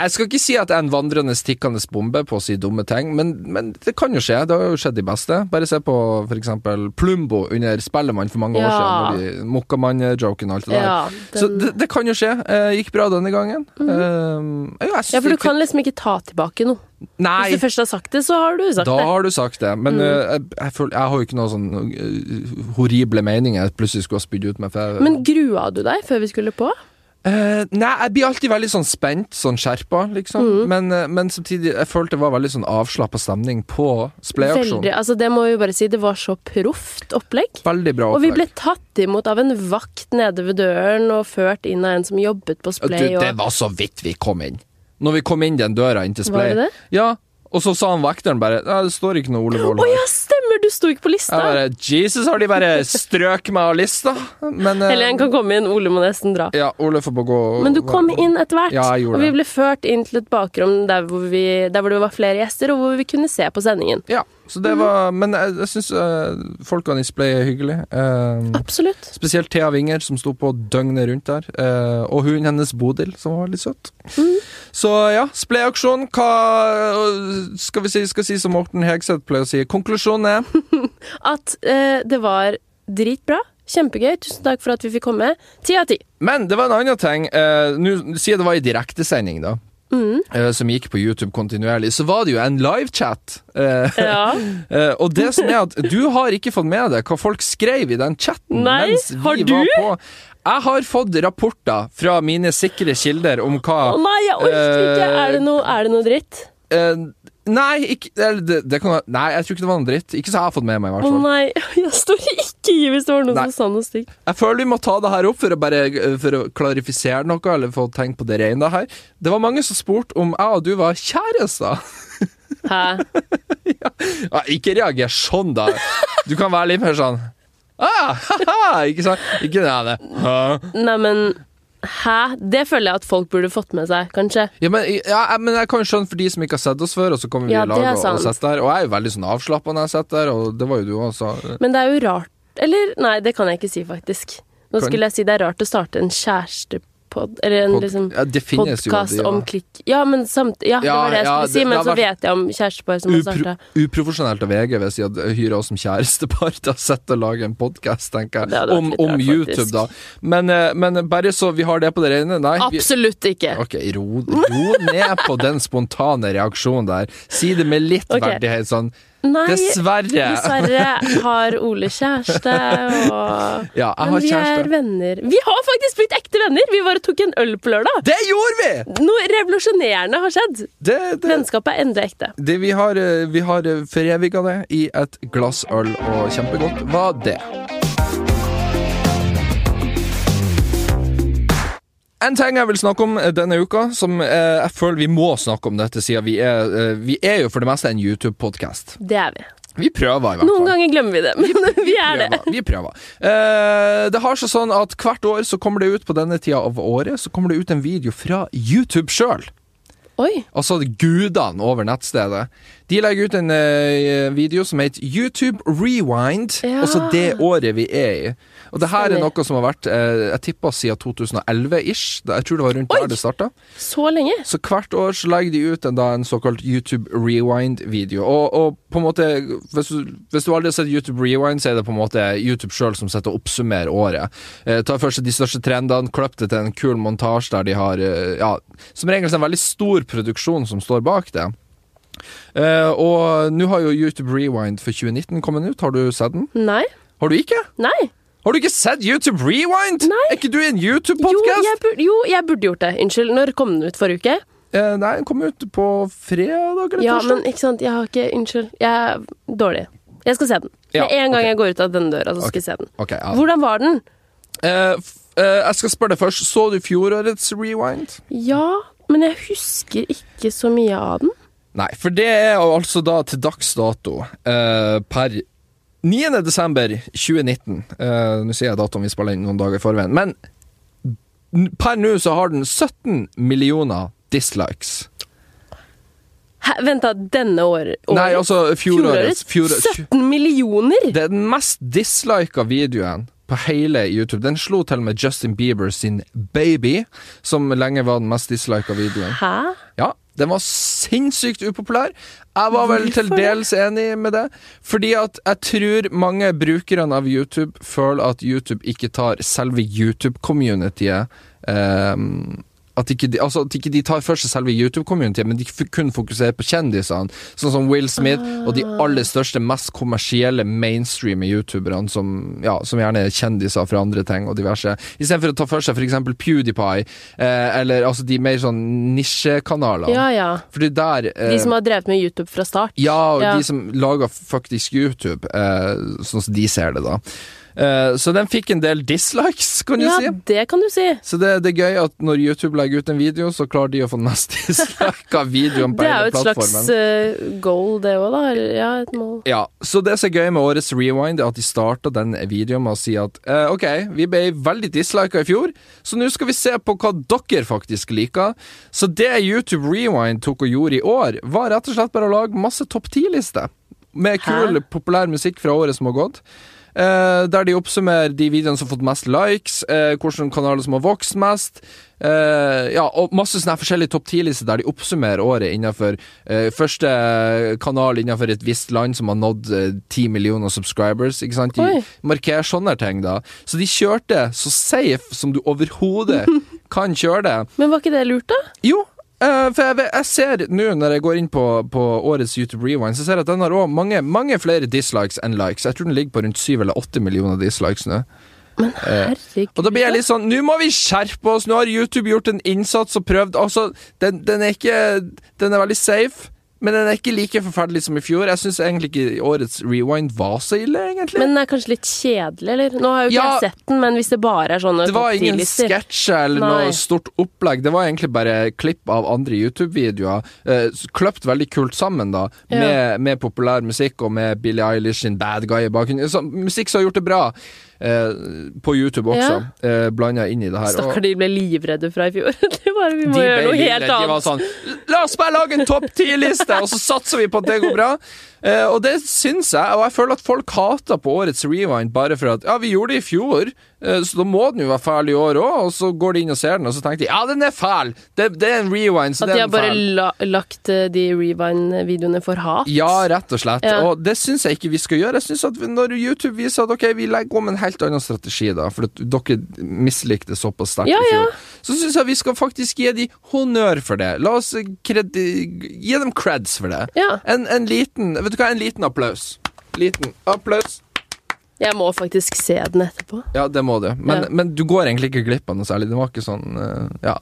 Speaker 2: Jeg skal ikke si at jeg er en vandrende, tikkende bombe på å si dumme ting, men, men det kan jo skje. Det har jo skjedd de beste. Bare se på for eksempel Plumbo under Spellemann for mange år
Speaker 1: Ja.
Speaker 2: siden. når de- Mokkamann-joken og alt det der.
Speaker 1: Ja,
Speaker 2: Så
Speaker 1: den-
Speaker 2: det, det kan jo skje. Eh, gikk bra denne gangen. Eh, ja, jeg synes
Speaker 1: Mhm. ja, for du
Speaker 2: det-
Speaker 1: kan liksom ikke ta tilbake noe.
Speaker 2: Nei,
Speaker 1: Hvis du først har sagt det, så har du sagt
Speaker 2: da
Speaker 1: det.
Speaker 2: har du sagt det.
Speaker 1: Mm.
Speaker 2: Men eh, jeg, jeg, føler, jeg har jo ikke noen sånn eh, horrible meninger jeg plutselig skulle ha spydd ut med. For jeg,
Speaker 1: Men grua du deg før vi skulle på?
Speaker 2: Eh, nei, jeg blir alltid veldig sånn spent, sånn skjerpa, liksom.
Speaker 1: Mm.
Speaker 2: Men, eh, men samtidig, jeg følte det var veldig sånn avslappa stemning på
Speaker 1: Veldig.
Speaker 2: spleaksjonen. Veldig.
Speaker 1: Altså, det må vi bare si. Det var så proft opplegg.
Speaker 2: bra
Speaker 1: Og vi ble
Speaker 2: opplegg.
Speaker 1: tatt imot av en vakt nede ved døren og ført inn av en som jobbet på
Speaker 2: Du,
Speaker 1: Splay.
Speaker 2: det
Speaker 1: Og...
Speaker 2: var så vidt vi kom inn. Når vi kom inn den døra inn til
Speaker 1: Var
Speaker 2: Splay.
Speaker 1: det det?
Speaker 2: Ja, og så sa han vekteren bare Nei, det står ikke noe Ole Wold
Speaker 1: Å
Speaker 2: her.
Speaker 1: ja, stemmer! Du sto ikke på lista.
Speaker 2: Jeg bare, Jesus, har de bare strøk meg av lista? Men eh,
Speaker 1: Eller en kan komme inn. Ole må nesten dra.
Speaker 2: Ja, Ole får bare gå og-
Speaker 1: Men du kom inn etter hvert,
Speaker 2: Ja, jeg gjorde
Speaker 1: og vi
Speaker 2: det.
Speaker 1: ble ført inn til et bakrom der hvor, vi, der hvor det var flere gjester, og hvor vi kunne se på sendingen.
Speaker 2: Ja, så det var Men jeg, eh, jeg syns folkene i Splay er hyggelige. Eh,
Speaker 1: Absolutt.
Speaker 2: spesielt Thea Winger, som sto på døgnet rundt der. eh, og hunden hennes Bodil, som var litt søt. Så ja, Splay-aksjon. Hva skal vi si, skal si som Morten Hegseth pleier å si? Konklusjonen er
Speaker 1: At eh, det var dritbra. Kjempegøy. Tusen takk for at vi fikk komme. Ti av ti.
Speaker 2: Men det var en annen ting. eh, Nå sier jeg det var i direktesending, da. eh, som gikk på YouTube kontinuerlig. Så var det jo en livechat. Uh,
Speaker 1: [LAUGHS] Ja.
Speaker 2: Eh, og det som er at du har ikke fått med deg hva folk skrev i den chatten
Speaker 1: Nei,
Speaker 2: mens vi
Speaker 1: har du?
Speaker 2: var på. Jeg har fått rapporter fra mine sikre kilder om hva
Speaker 1: Å nei, jeg orker ikke! Er det noe, er det noe dritt?
Speaker 2: eh, Nei, ikke, eller det, det kan, være- nei, jeg tror ikke det var noe dritt. Ikke så jeg har fått med meg, i
Speaker 1: Å
Speaker 2: hvert fall.
Speaker 1: nei, [LAUGHS] jeg står ikke i hvis det var noen
Speaker 2: Nei.
Speaker 1: som sa noe stygt.
Speaker 2: Jeg føler vi må ta det her opp for å, bare, for å klarifisere noe, eller få tenkt på det rene her. Det var mange som spurte om jeg og du var kjærester.
Speaker 1: Hæ?
Speaker 2: Ja, ikke reager sånn, da. Du
Speaker 1: [LAUGHS]
Speaker 2: kan være litt mer sånn ah, haha, Ikke sant? Ikke det. Hæ?
Speaker 1: Neimen Hæ? Det føler jeg at folk burde fått med seg, kanskje.
Speaker 2: Ja, men, ja, jeg- men jeg kan jo skjønne for de som ikke har sett oss før, og så kommer vi
Speaker 1: Ja,
Speaker 2: i lag
Speaker 1: det er
Speaker 2: og, og
Speaker 1: sant.
Speaker 2: sitter der. Og jeg er jo veldig sånn avslappa når jeg sitter der, og det var jo du også.
Speaker 1: Men det er jo rart Eller, nei, det kan jeg ikke si, faktisk. Nå
Speaker 2: Kan-
Speaker 1: skulle jeg si det er rart å starte en kjærestepod Eller en
Speaker 2: Pod,
Speaker 1: liksom
Speaker 2: ja, det finnes jo
Speaker 1: podkast
Speaker 2: de,
Speaker 1: om klikk... Ja, men samt, ja, det
Speaker 2: Ja,
Speaker 1: var det jeg
Speaker 2: ja,
Speaker 1: skulle
Speaker 2: det-
Speaker 1: si, men
Speaker 2: det har
Speaker 1: så vet jeg om kjærestepar som har
Speaker 2: Upro
Speaker 1: starta.
Speaker 2: uprofesjonelt av VG hvis de hadde hyra oss som kjærestepar til å sitte og lage en podkast, tenker
Speaker 1: Det
Speaker 2: jeg.
Speaker 1: hadde vært
Speaker 2: Om,
Speaker 1: litt
Speaker 2: om
Speaker 1: rart,
Speaker 2: YouTube,
Speaker 1: faktisk.
Speaker 2: da. Men, eh, men bare så vi har det på det rene. Nei. Vi,
Speaker 1: Absolutt ikke!
Speaker 2: ok, ro, ro ned på den spontane reaksjonen der. Si det med litt
Speaker 1: Ok.
Speaker 2: verdighet, sånn.
Speaker 1: Nei,
Speaker 2: Dessverre.
Speaker 1: dessverre har Ole kjæreste, og
Speaker 2: Ja, jeg
Speaker 1: Men
Speaker 2: har
Speaker 1: vi er
Speaker 2: kjæreste.
Speaker 1: venner. Vi har faktisk blitt ekte venner! Vi bare tok en øl på lørdag.
Speaker 2: Det gjorde vi!
Speaker 1: Noe revolusjonerende har skjedd.
Speaker 2: Det, det,
Speaker 1: Vennskapet er endelig ekte.
Speaker 2: det vi har, eh, vi har eh, foreviga det i et glass øl, og kjempegodt var det. En ting jeg vil snakke om eh, denne uka, som eh, jeg føler vi må snakke om dette, siden vi er, eh, vi er jo for det meste en YouTube-podkast.
Speaker 1: Det er vi.
Speaker 2: Vi prøver, i hvert fall.
Speaker 1: Noen ganger glemmer vi det, men [LAUGHS] vi er det.
Speaker 2: prøver. Vi prøver. Eh, det har seg sånn at hvert år så kommer det ut på denne tida av året Så kommer det ut en video fra YouTube sjøl.
Speaker 1: Oi.
Speaker 2: Altså gudene over nettstedet. De legger ut en eh, video som heter YouTube Rewind.
Speaker 1: Ja.
Speaker 2: Også det året vi er i. Og det her er
Speaker 1: Stemmer.
Speaker 2: noe som har vært eh, Jeg tippa siden 2011-ish. Jeg tror det var rundt
Speaker 1: Oi.
Speaker 2: der det starta.
Speaker 1: Så lenge?
Speaker 2: Så hvert år så legger de ut en, da, en såkalt YouTube Rewind-video. Og, og på en måte, hvis du, hvis du aldri har sett YouTube Rewind, så er det på en måte YouTube sjøl som sitter og oppsummerer året. Eh, tar først de største trendene, klipp det til en kul montasje der de har eh, ja, Som regel så er det en veldig stor produksjon som står bak det. Eh, og nå har jo YouTube Rewind for 2019 kommet ut. Har du sett den?
Speaker 1: Nei.
Speaker 2: Har du ikke?
Speaker 1: Nei.
Speaker 2: Har du ikke sett YouTube Rewind?!
Speaker 1: Nei.
Speaker 2: Er ikke du i en
Speaker 1: Jo
Speaker 2: YouTube-podkast?
Speaker 1: jeg, burde, jo, jeg burde gjort det. Unnskyld. Når kom den ut? Forrige uke?
Speaker 2: eh, nei, den kom ut på fredag eller
Speaker 1: Ja,
Speaker 2: torsdag.
Speaker 1: men ikke sant. Jeg har ikke Unnskyld. Jeg er dårlig. Jeg skal se den.
Speaker 2: Ja,
Speaker 1: Med en gang
Speaker 2: ok.
Speaker 1: jeg går ut av denne døra, så skal jeg se den.
Speaker 2: Ok, ja.
Speaker 1: Hvordan var den?
Speaker 2: Eh, f- eh, jeg skal spørre deg først. Så du fjorårets rewind?
Speaker 1: Ja, men jeg husker ikke så mye av den.
Speaker 2: Nei, for det er jo altså da til dags dato eh, per 9. desember 2019. Eh, nå sier jeg datoen vi spiller inn noen dager i forveien, men n- per nå så har den 17 millioner dislikes.
Speaker 1: Hæ, vent da, denne år, året?
Speaker 2: Nei, altså fjorårets. fjorårets tju-
Speaker 1: 17 millioner?!
Speaker 2: Det er den mest dislika videoen på hele YouTube. Den slo til og med Justin Bieber sin Baby, som lenge var den mest dislika videoen.
Speaker 1: Hæ?
Speaker 2: Ja, den var sinnssykt upopulær. Jeg var vel til
Speaker 1: Hvorfor det?
Speaker 2: dels enig med det, fordi at jeg tror mange brukerne av YouTube føler at YouTube ikke tar selve YouTube-communityet ehm, at ikke, de, altså at ikke de tar for seg selve YouTube-communityet, men de f- kun fokuserer på kjendisene. Sånn som Will Smith og de aller største, mest kommersielle mainstreame youtuberne, som, ja, som gjerne er kjendiser fra andre ting og diverse. Istedenfor å ta for seg f.eks. PewDiePie, eh, eller altså de mer sånn nisjekanalene.
Speaker 1: Ja ja.
Speaker 2: For det der eh,
Speaker 1: De som har drevet med YouTube fra start.
Speaker 2: ja, og
Speaker 1: Ja.
Speaker 2: de som lager faktisk YouTube, eh, sånn som de ser det, da. Eh, så den fikk en del dislikes, kan du
Speaker 1: Ja,
Speaker 2: si.
Speaker 1: det kan du si.
Speaker 2: Så det, det er gøy at når YouTube legger ut en video, så klarer de å få den mest [LAUGHS] dislika videoen på
Speaker 1: Det er jo
Speaker 2: hele
Speaker 1: et
Speaker 2: plattformen.
Speaker 1: slags eh, goal, det òg, da. eller- Ja, et mål.
Speaker 2: Ja, så det som er gøy med årets Rewind, er at de starta den videoen med å si at eh, ok, vi ble veldig dislika i fjor, så nå skal vi se på hva dere faktisk liker. Så det YouTube Rewind tok og gjorde i år, var rett og slett bare å lage masse topp ti-lister med kul,
Speaker 1: Hæ?
Speaker 2: populær musikk fra året som har gått. Eh, der de oppsummerer de videoene som har fått mest likes, eh, hvilke kanaler som har vokst mest. eh, ja, og masse sånne her forskjellige topp 10-lister der de oppsummerer året innenfor eh, første kanal innenfor et visst land som har nådd eh, 10 millioner subscribers. Ikke sant? De
Speaker 1: Oi.
Speaker 2: markerer sånne ting, da. Så de kjørte så safe som du overhodet kan kjøre det.
Speaker 1: Men var ikke det lurt, da?
Speaker 2: Jo, eh, for jeg, ve- jeg ser nå når jeg går inn på, på årets YouTube Rewind, så ser jeg at den har også mange, mange flere dislikes enn likes. Jeg tror den ligger på rundt syv eller åtte millioner dislikes nå.
Speaker 1: Men herregud.
Speaker 2: Og da blir jeg litt sånn Nå må vi skjerpe oss! Nå har YouTube gjort en innsats og prøvd Altså, den, den er ikke Den er veldig safe. Men den er ikke like forferdelig som i fjor. Jeg syns egentlig ikke årets rewind var så ille, egentlig.
Speaker 1: Men den er kanskje litt kjedelig, eller? Nå har jo ikke
Speaker 2: Ja.
Speaker 1: jeg sett den, men hvis det bare er sånne
Speaker 2: det var
Speaker 1: topp
Speaker 2: ingen
Speaker 1: 10-lister.
Speaker 2: sketsjer eller
Speaker 1: Nei.
Speaker 2: noe stort opplegg. Det var egentlig bare klipp av andre YouTube-videoer. Eh, s- kløpt veldig kult sammen, da.
Speaker 1: Ja.
Speaker 2: Med, med populær musikk og med Billie Eilish sin Bad Guy i bakgrunnen. Så, musikk som har gjort det bra. Eh, på YouTube også. Eh, Blanda inn i det her. Og-
Speaker 1: Stakkar, de ble livredde fra i fjor. [LAUGHS] Det var, vi
Speaker 2: de
Speaker 1: må gjøre
Speaker 2: ble
Speaker 1: noe
Speaker 2: ville.
Speaker 1: helt
Speaker 2: De var
Speaker 1: annet.
Speaker 2: sånn La oss bare lage en topp ti-liste, og så satser vi på at det går bra. Eh, og det syns jeg, og jeg føler at folk hater på årets rewind bare for at Ja, vi gjorde det i fjor, eh, så da må den jo være fæl i år òg, og så går de inn og ser den, og så tenker de ja, den er fæl! Det, det er en rewind, så
Speaker 1: At de
Speaker 2: det er
Speaker 1: har
Speaker 2: en
Speaker 1: bare
Speaker 2: fæl.
Speaker 1: la, lagt eh, de Rewind-videoene for hat.
Speaker 2: Ja, rett og slett.
Speaker 1: Ja.
Speaker 2: Og det syns jeg ikke vi skal gjøre. Jeg synes at Når YouTube viser at ok, vi legger om en helt annen strategi, da, for at dere mislikte såpass sterkt
Speaker 1: Ja,
Speaker 2: i
Speaker 1: ja.
Speaker 2: fjor, så syns jeg vi skal faktisk gi de honnør for det. La oss kredi gi dem creds for det.
Speaker 1: Ja.
Speaker 2: En, en liten Vet du hva, en liten applaus. Liten applaus.
Speaker 1: Jeg må faktisk se den etterpå.
Speaker 2: Ja, det må du. Men,
Speaker 1: Ja.
Speaker 2: men du går egentlig ikke glipp av noe særlig. Den var ikke sånn eh, Ja.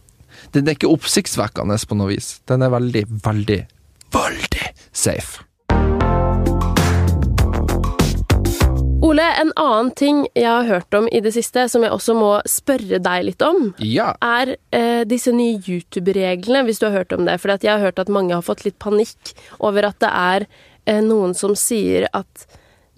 Speaker 2: Den er ikke oppsiktsvekkende på noe vis. Den er veldig, veldig, veldig safe.
Speaker 1: Ole, en annen ting jeg har hørt om i det siste, som jeg også må spørre deg litt om,
Speaker 2: Ja.
Speaker 1: er eh, disse nye YouTube-reglene, hvis du har hørt om det. For jeg har hørt at mange har fått litt panikk over at det er eh, noen som sier at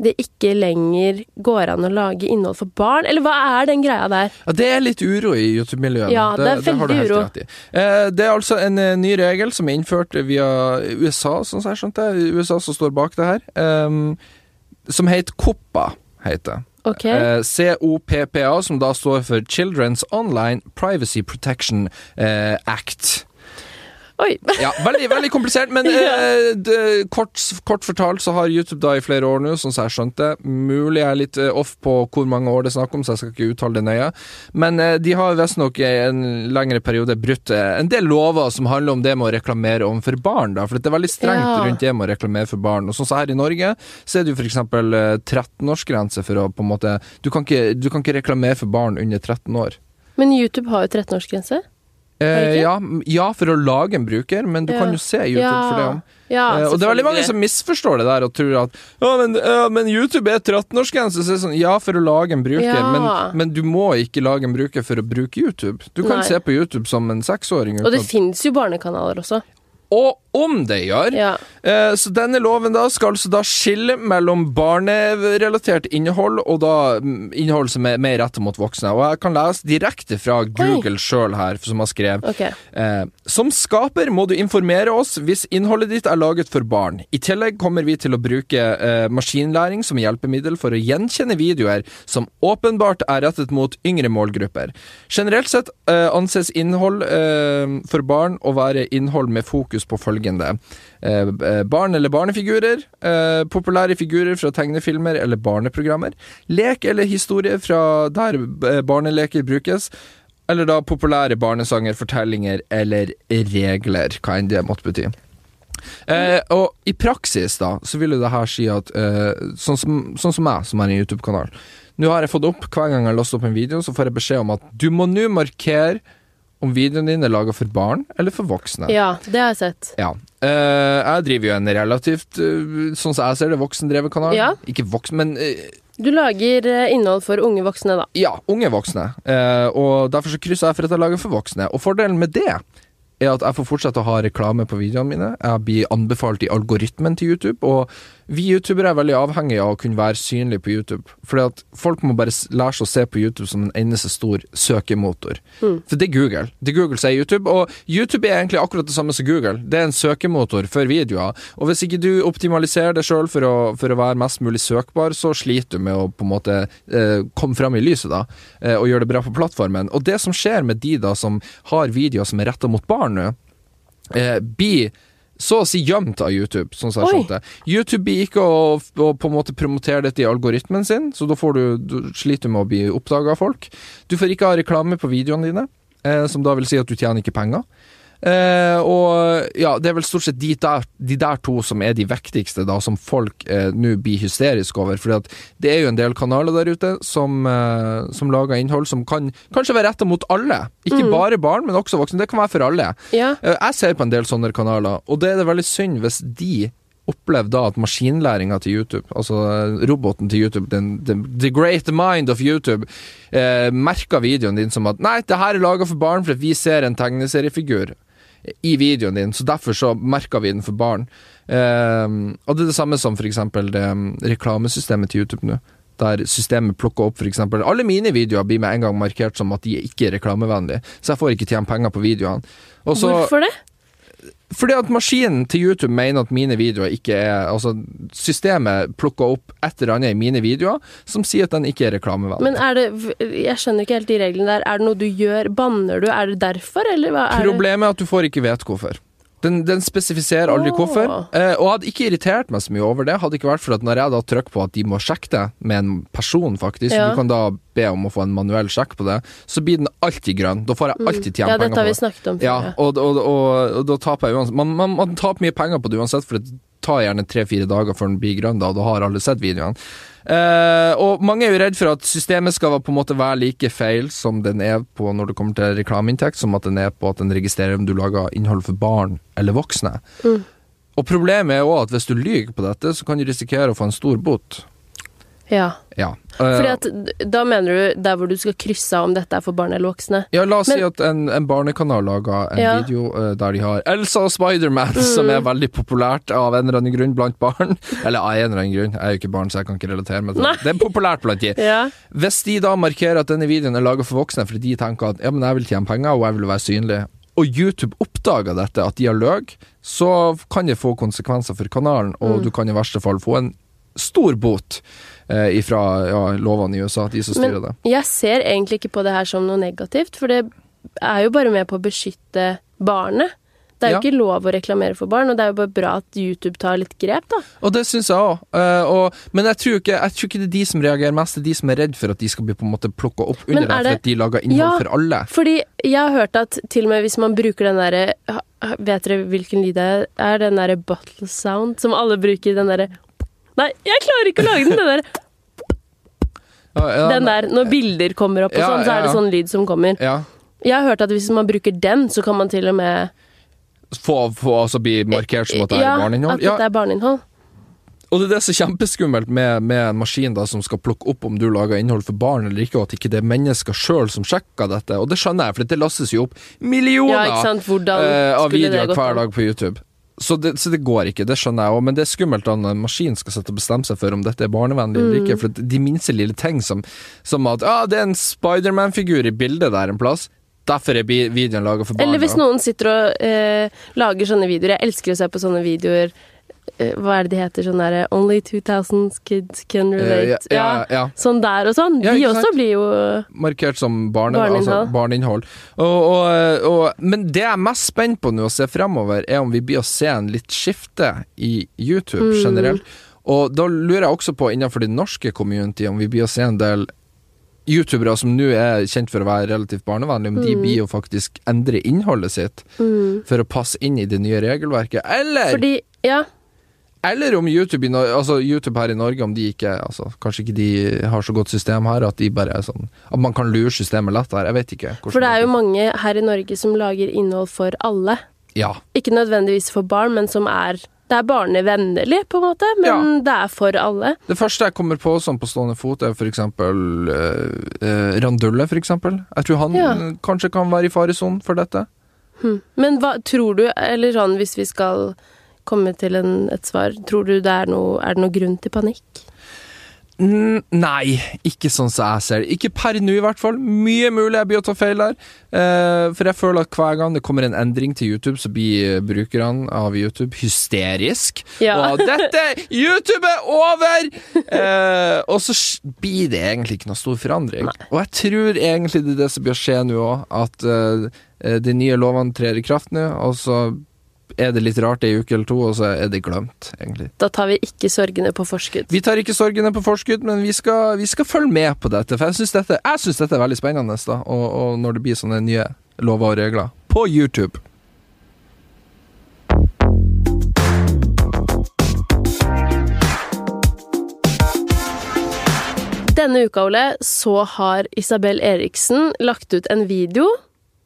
Speaker 1: det ikke lenger går an å lage innhold for barn. Eller hva er den greia der?
Speaker 2: Ja, Det er litt uro i YouTube-miljøet.
Speaker 1: Ja, det er
Speaker 2: har du
Speaker 1: veldig
Speaker 2: helt
Speaker 1: uro.
Speaker 2: rett i. Eh, det er altså en eh, ny regel som er innført via USA, sånn som jeg skjønte. USA som står bak det her. ehm, som heter COPPA, heter det.
Speaker 1: Ok,
Speaker 2: Eh, COPPA, som da står for Children's Online Privacy Protection eh, Act.
Speaker 1: Oi.
Speaker 2: Ja, veldig, veldig komplisert,
Speaker 1: [LAUGHS]
Speaker 2: men eh, det, kort, kort fortalt så har YouTube da i flere år nå, sånn som jeg skjønte. Mulig jeg er litt eh, off på hvor mange år det er snakk om, så jeg skal ikke uttale det nøye. Men eh, de har visstnok i en lengre periode brutt eh, en del lover som handler om det med å reklamere overfor barn, da. For det er veldig strengt
Speaker 1: Ja.
Speaker 2: rundt det med å reklamere for barn. Og sånn som her i Norge, så er det jo f.eks. 13-årsgrense for å på en måte du kan, ikke, du kan ikke reklamere for barn under 13 år.
Speaker 1: Men YouTube har jo 13-årsgrense. Har det
Speaker 2: Eh,
Speaker 1: ikke?
Speaker 2: ja, m- ja, for å lage en bruker, men du
Speaker 1: Ja.
Speaker 2: kan jo se YouTube for det òg.
Speaker 1: Ja,
Speaker 2: Eh, og det er veldig mange som misforstår det der og tror at ja, men, ja, men YouTube er 13-årsgrense, så er det sånn ja, for å lage en bruker,
Speaker 1: Ja.
Speaker 2: men, men du må ikke lage en bruker for å bruke YouTube. Du kan
Speaker 1: Nei.
Speaker 2: se på YouTube som en seksåring.
Speaker 1: selvfølgelig. Og det
Speaker 2: uten at-
Speaker 1: fins jo barnekanaler også.
Speaker 2: Og om det gjør!
Speaker 1: Ja.
Speaker 2: Eh, Så denne loven da skal altså da skille mellom barnerelatert innhold og da mm, innhold som er mer rettet mot voksne. Og jeg kan lese direkte fra Google sjøl her, som har skrevet
Speaker 1: Ok.
Speaker 2: Eh, som skaper må du informere oss hvis innholdet ditt er laget for barn. I tillegg kommer vi til å bruke eh, maskinlæring som hjelpemiddel for å gjenkjenne videoer som åpenbart er rettet mot yngre målgrupper. Generelt sett eh, anses innhold eh, for barn å være innhold med fokus på følgende. Eh, eh, barn eller barnefigurer, eh, populære figurer fra tegnefilmer eller barneprogrammer, lek eller historie fra der eh, barneleker brukes, eller da populære barnesanger, fortellinger eller regler, hva enn det måtte bety. Eh, og i praksis da, så vil jo det her si at eh, sånn, som, sånn som meg, som har en YouTube-kanal Nå har jeg fått opp, hver gang jeg har lastet opp en video, så får jeg beskjed om at du må nå markere om videoen din er laget for barn eller for voksne.
Speaker 1: Ja, det har jeg sett.
Speaker 2: Ja. Eh, jeg driver jo en relativt, eh, sånn som jeg ser det, voksendrevet kanal.
Speaker 1: Ja.
Speaker 2: Ikke voksen, men eh,
Speaker 1: Du lager eh, innhold for unge voksne, da.
Speaker 2: ja, unge voksne. Eh, og derfor så krysser jeg for at jeg lager for voksne. Og fordelen med det er at jeg får fortsette å ha reklame på videoene mine. Jeg blir anbefalt i algoritmen til YouTube, og vi youtubere er veldig avhengige av å kunne være synlige på YouTube. Fordi at folk må bare s- lære seg å se på YouTube som en eneste stor søkemotor. For det er Google. Det er Google som er YouTube, og YouTube er egentlig akkurat det samme som Google. Det er en søkemotor for videoer, og hvis ikke du optimaliserer det sjøl for, å- for å være mest mulig søkbar, så sliter du med å på en måte eh, komme fram i lyset, da, eh, og gjøre det bra på plattformen. Og det som skjer med de da som har videoer som er retta mot barn nå, eh, blir så å si gjemt av YouTube, sånn som jeg
Speaker 1: Oi.
Speaker 2: skjønte. YouTube blir ikke å, å på en måte promotere dette i algoritmen sin, så da får du, du sliter du med å bli oppdaga av folk. Du får ikke ha reklame på videoene dine, eh, som da vil si at du tjener ikke penger. Eh, og ja, det er vel stort sett de der, de der to som er de vektigste, da, som folk eh, nå blir hysteriske over. For det er jo en del kanaler der ute som, eh, som lager innhold som kan kanskje være retta mot alle. Ikke bare barn, men også voksne. Det kan være for alle.
Speaker 1: Ja.
Speaker 2: Eh, Jeg ser på en del sånne kanaler, og det er det veldig synd hvis de opplever da at maskinlæringa til YouTube, altså eh, roboten til YouTube, den, den, the great mind of YouTube, eh, merker videoen din som at nei, det her er laga for barn fordi vi ser en tegneseriefigur i videoen din, så derfor så merker vi den for barn. Eh, og det er det samme som for eksempel det mm, reklamesystemet til YouTube nå. Der systemet plukker opp f.eks. Alle mine videoer blir med en gang markert som at de ikke er reklamevennlige, så jeg får ikke tjene penger på videoene. Og så-
Speaker 1: Hvorfor det?
Speaker 2: fordi at maskinen til YouTube mener at mine videoer ikke er Altså, systemet plukker opp et eller annet i mine videoer som sier at den ikke er
Speaker 1: Men
Speaker 2: reklamevennlig.
Speaker 1: er det Jeg skjønner ikke helt de reglene der. Er det noe du gjør? Banner du? Er det derfor, eller hva er det?
Speaker 2: Problemet er at du får ikke vite hvorfor. Den, den spesifiserer aldri
Speaker 1: Åh.
Speaker 2: hvorfor. Eh, og hadde ikke irritert meg så mye over det, hadde ikke vært for at når jeg da trykker på at de må sjekke det med en person, faktisk,
Speaker 1: Ja.
Speaker 2: du kan da be om å få en manuell sjekk på det, så blir den alltid grønn. Da får jeg alltid tjene
Speaker 1: Mm. Ja,
Speaker 2: penger
Speaker 1: dette
Speaker 2: på
Speaker 1: har
Speaker 2: det.
Speaker 1: vi snakket om
Speaker 2: Ja,
Speaker 1: før. ja.
Speaker 2: og, og, og, og da taper jeg uansett. Man, man, man taper mye penger på det uansett, for det tar gjerne tre-fire dager før den blir grønn, da, og da har alle sett videoene. Eh, og mange er jo redd for at systemet skal på en måte være like feil som den er på når det kommer til reklameinntekt, som at den er på at den registrerer om du lager innhold for barn eller voksne.
Speaker 1: Mm.
Speaker 2: Og problemet er jo også at hvis du lyver på dette, så kan du risikere å få en stor bot.
Speaker 1: ja.
Speaker 2: Ja.
Speaker 1: Fordi
Speaker 2: Eh,
Speaker 1: at d- da mener du der hvor du skal krysse av om dette er for barn eller voksne?
Speaker 2: Ja, la oss
Speaker 1: Men-
Speaker 2: si at en, en barnekanal laga en
Speaker 1: Ja. Mm.
Speaker 2: video eh, der de har Elsa og Spiderman, [LAUGHS] som er veldig populært av en eller annen grunn blant
Speaker 1: [LAUGHS]
Speaker 2: barn. Eller av en eller annen grunn, jeg er jo ikke barn, så jeg kan ikke relatere meg til det.
Speaker 1: Nei.
Speaker 2: Det er populært blant de.
Speaker 1: Ja.
Speaker 2: Hvis de da markerer at denne videoen er laga for voksne fordi de tenker at ja, men jeg vil tjene penger, og jeg vil være synlig, og YouTube oppdager dette, at de har løg, så kan det få konsekvenser for kanalen, og
Speaker 1: Mm.
Speaker 2: du kan i verste fall få en stor bot eh, ifra ja, lovene i USA, de som styrer det.
Speaker 1: Jeg ser egentlig ikke på det her som noe negativt, for det er jo bare med på å beskytte barnet. Det er jo
Speaker 2: Ja.
Speaker 1: ikke lov å reklamere for barn, og det er jo bare bra at YouTube tar litt grep, da.
Speaker 2: Og det syns jeg òg. men jeg tror, ikke, jeg tror ikke det er de som reagerer mest, det er de som er redd for at de skal bli på en måte plukka opp
Speaker 1: Men
Speaker 2: under
Speaker 1: er
Speaker 2: deg
Speaker 1: det-
Speaker 2: for at de lager innhold
Speaker 1: Ja.
Speaker 2: for alle.
Speaker 1: Fordi jeg har hørt at til og med hvis man bruker den derre ha- ha- Vet dere hvilken lyd det er? Den derre bottle sound som alle bruker, den derre Nei, jeg klarer ikke å lage den! Den der,
Speaker 2: Ja, ja,
Speaker 1: den der når bilder kommer opp og
Speaker 2: Ja,
Speaker 1: sånn, så
Speaker 2: ja,
Speaker 1: er det
Speaker 2: ja.
Speaker 1: sånn lyd som kommer.
Speaker 2: Ja.
Speaker 1: Jeg har hørt at hvis man bruker den, så kan man til og med
Speaker 2: Få, få altså bli markert som at det
Speaker 1: Ja,
Speaker 2: er barneinnhold.
Speaker 1: at dette
Speaker 2: Ja,
Speaker 1: er barneinnhold.
Speaker 2: og det er det som er kjempeskummelt med, med en maskin da, som skal plukke opp om du lager innhold for barn eller ikke, og at ikke det er mennesker sjøl som sjekker dette. Og det skjønner jeg, for det lastes jo opp
Speaker 1: Ja,
Speaker 2: millioner
Speaker 1: ikke sant. Hvordan
Speaker 2: eh, av
Speaker 1: skulle det
Speaker 2: videoer
Speaker 1: gått?
Speaker 2: hver
Speaker 1: an?
Speaker 2: dag på YouTube. Så det, så det går ikke, det skjønner jeg òg, men det er skummelt da når en maskin skal sitte og bestemme seg for om dette er barnevennlig eller
Speaker 1: Mm.
Speaker 2: ikke, for de minste lille ting som, som at ah, det er en Spiderman-figur i bildet der en plass, derfor er bi- videoen laga for barn.
Speaker 1: Eller hvis
Speaker 2: da.
Speaker 1: noen sitter og eh, lager sånne videoer. Jeg elsker å se på sånne videoer. Eh, hva er det de heter? Sånn derre Only 2000 kids can
Speaker 2: Eh,
Speaker 1: relate.
Speaker 2: ja, ja, ja,
Speaker 1: Sånn der og sånn.
Speaker 2: Ja,
Speaker 1: de
Speaker 2: ikke
Speaker 1: også
Speaker 2: sant?
Speaker 1: blir jo
Speaker 2: markert som barne, barneinnhold.
Speaker 1: Barneinnhold.
Speaker 2: Altså barneinnhold. Og, og, og, men det jeg er mest spent på nå å se fremover, er om vi blir å se en litt skifte i YouTube generelt. Og da lurer jeg også på, innenfor det norske community, om vi blir å se en del youtubere som nå er kjent for å være relativt barnevennlige, om de blir å faktisk endre innholdet sitt for å passe inn i det nye regelverket. Eller
Speaker 1: Fordi Ja.
Speaker 2: eller om YouTube, i Nor- altså YouTube her i Norge, om de ikke altså, Kanskje ikke de har så godt system her at de bare er sånn At man kan lure systemet lett her. Jeg vet ikke. hvordan
Speaker 1: For det er jo mange her i Norge som lager innhold for alle.
Speaker 2: Ja.
Speaker 1: Ikke nødvendigvis for barn, men som er Det er barnevennlig, på en måte, men
Speaker 2: Ja.
Speaker 1: det er for alle.
Speaker 2: Det første jeg kommer på sånn på stående fot, er for eksempel eh, eh, Randulle, for eksempel. Jeg tror han
Speaker 1: Ja.
Speaker 2: eh, kanskje kan være i faresonen for dette.
Speaker 1: Hm. Men hva tror du, eller sånn hvis vi skal komme til en, et svar, tror du det er noe, er det noe grunn til panikk?
Speaker 2: Mm, Nei, ikke sånn som jeg ser det. Ikke per nå, i hvert fall. Mye mulig jeg blir å ta feil der. Eh, for jeg føler at hver gang det kommer en endring til YouTube, så blir eh, brukerne av YouTube hysterisk.
Speaker 1: Ja.
Speaker 2: Og dette YouTube er over! Eh, og så s- blir det egentlig ikke noe stor forandring. Og jeg tror egentlig det er det som bør skje nå òg, at eh, de nye lovene trer i kraft nå, og så er det litt rart ei uke eller to, og så er det glemt, egentlig.
Speaker 1: Da tar vi ikke sorgene på forskudd.
Speaker 2: Vi tar ikke sorgene på forskudd, men vi skal, vi skal følge med på dette. For jeg syns dette, jeg synes dette er veldig spennende, da, og, og når det blir sånne nye lover og regler på YouTube.
Speaker 1: Denne uka, Ole, så har Isabel Eriksen lagt ut en video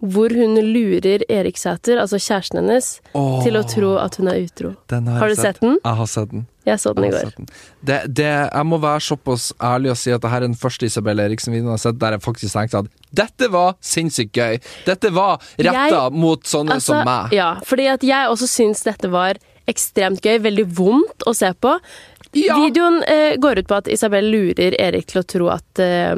Speaker 1: hvor hun lurer Eriksæter, altså kjæresten hennes,
Speaker 2: Åh,
Speaker 1: til å tro at hun er utro.
Speaker 2: den
Speaker 1: Har du
Speaker 2: jeg
Speaker 1: sett den?
Speaker 2: Jeg har sett den.
Speaker 1: Jeg så den i
Speaker 2: Jeg har
Speaker 1: går.
Speaker 2: sett den. Det, det, jeg må være såpass ærlig og si at det her er den første Isabel Eriksen-videoen jeg har sett der jeg faktisk tenkte at dette var sinnssykt gøy. Dette var retta
Speaker 1: Jeg-
Speaker 2: mot sånne
Speaker 1: Altså,
Speaker 2: som meg.
Speaker 1: ja, fordi at jeg også syns dette var ekstremt gøy. Veldig vondt å se på.
Speaker 2: Ja.
Speaker 1: Videoen eh, går ut på at Isabel lurer Erik til å tro at eh,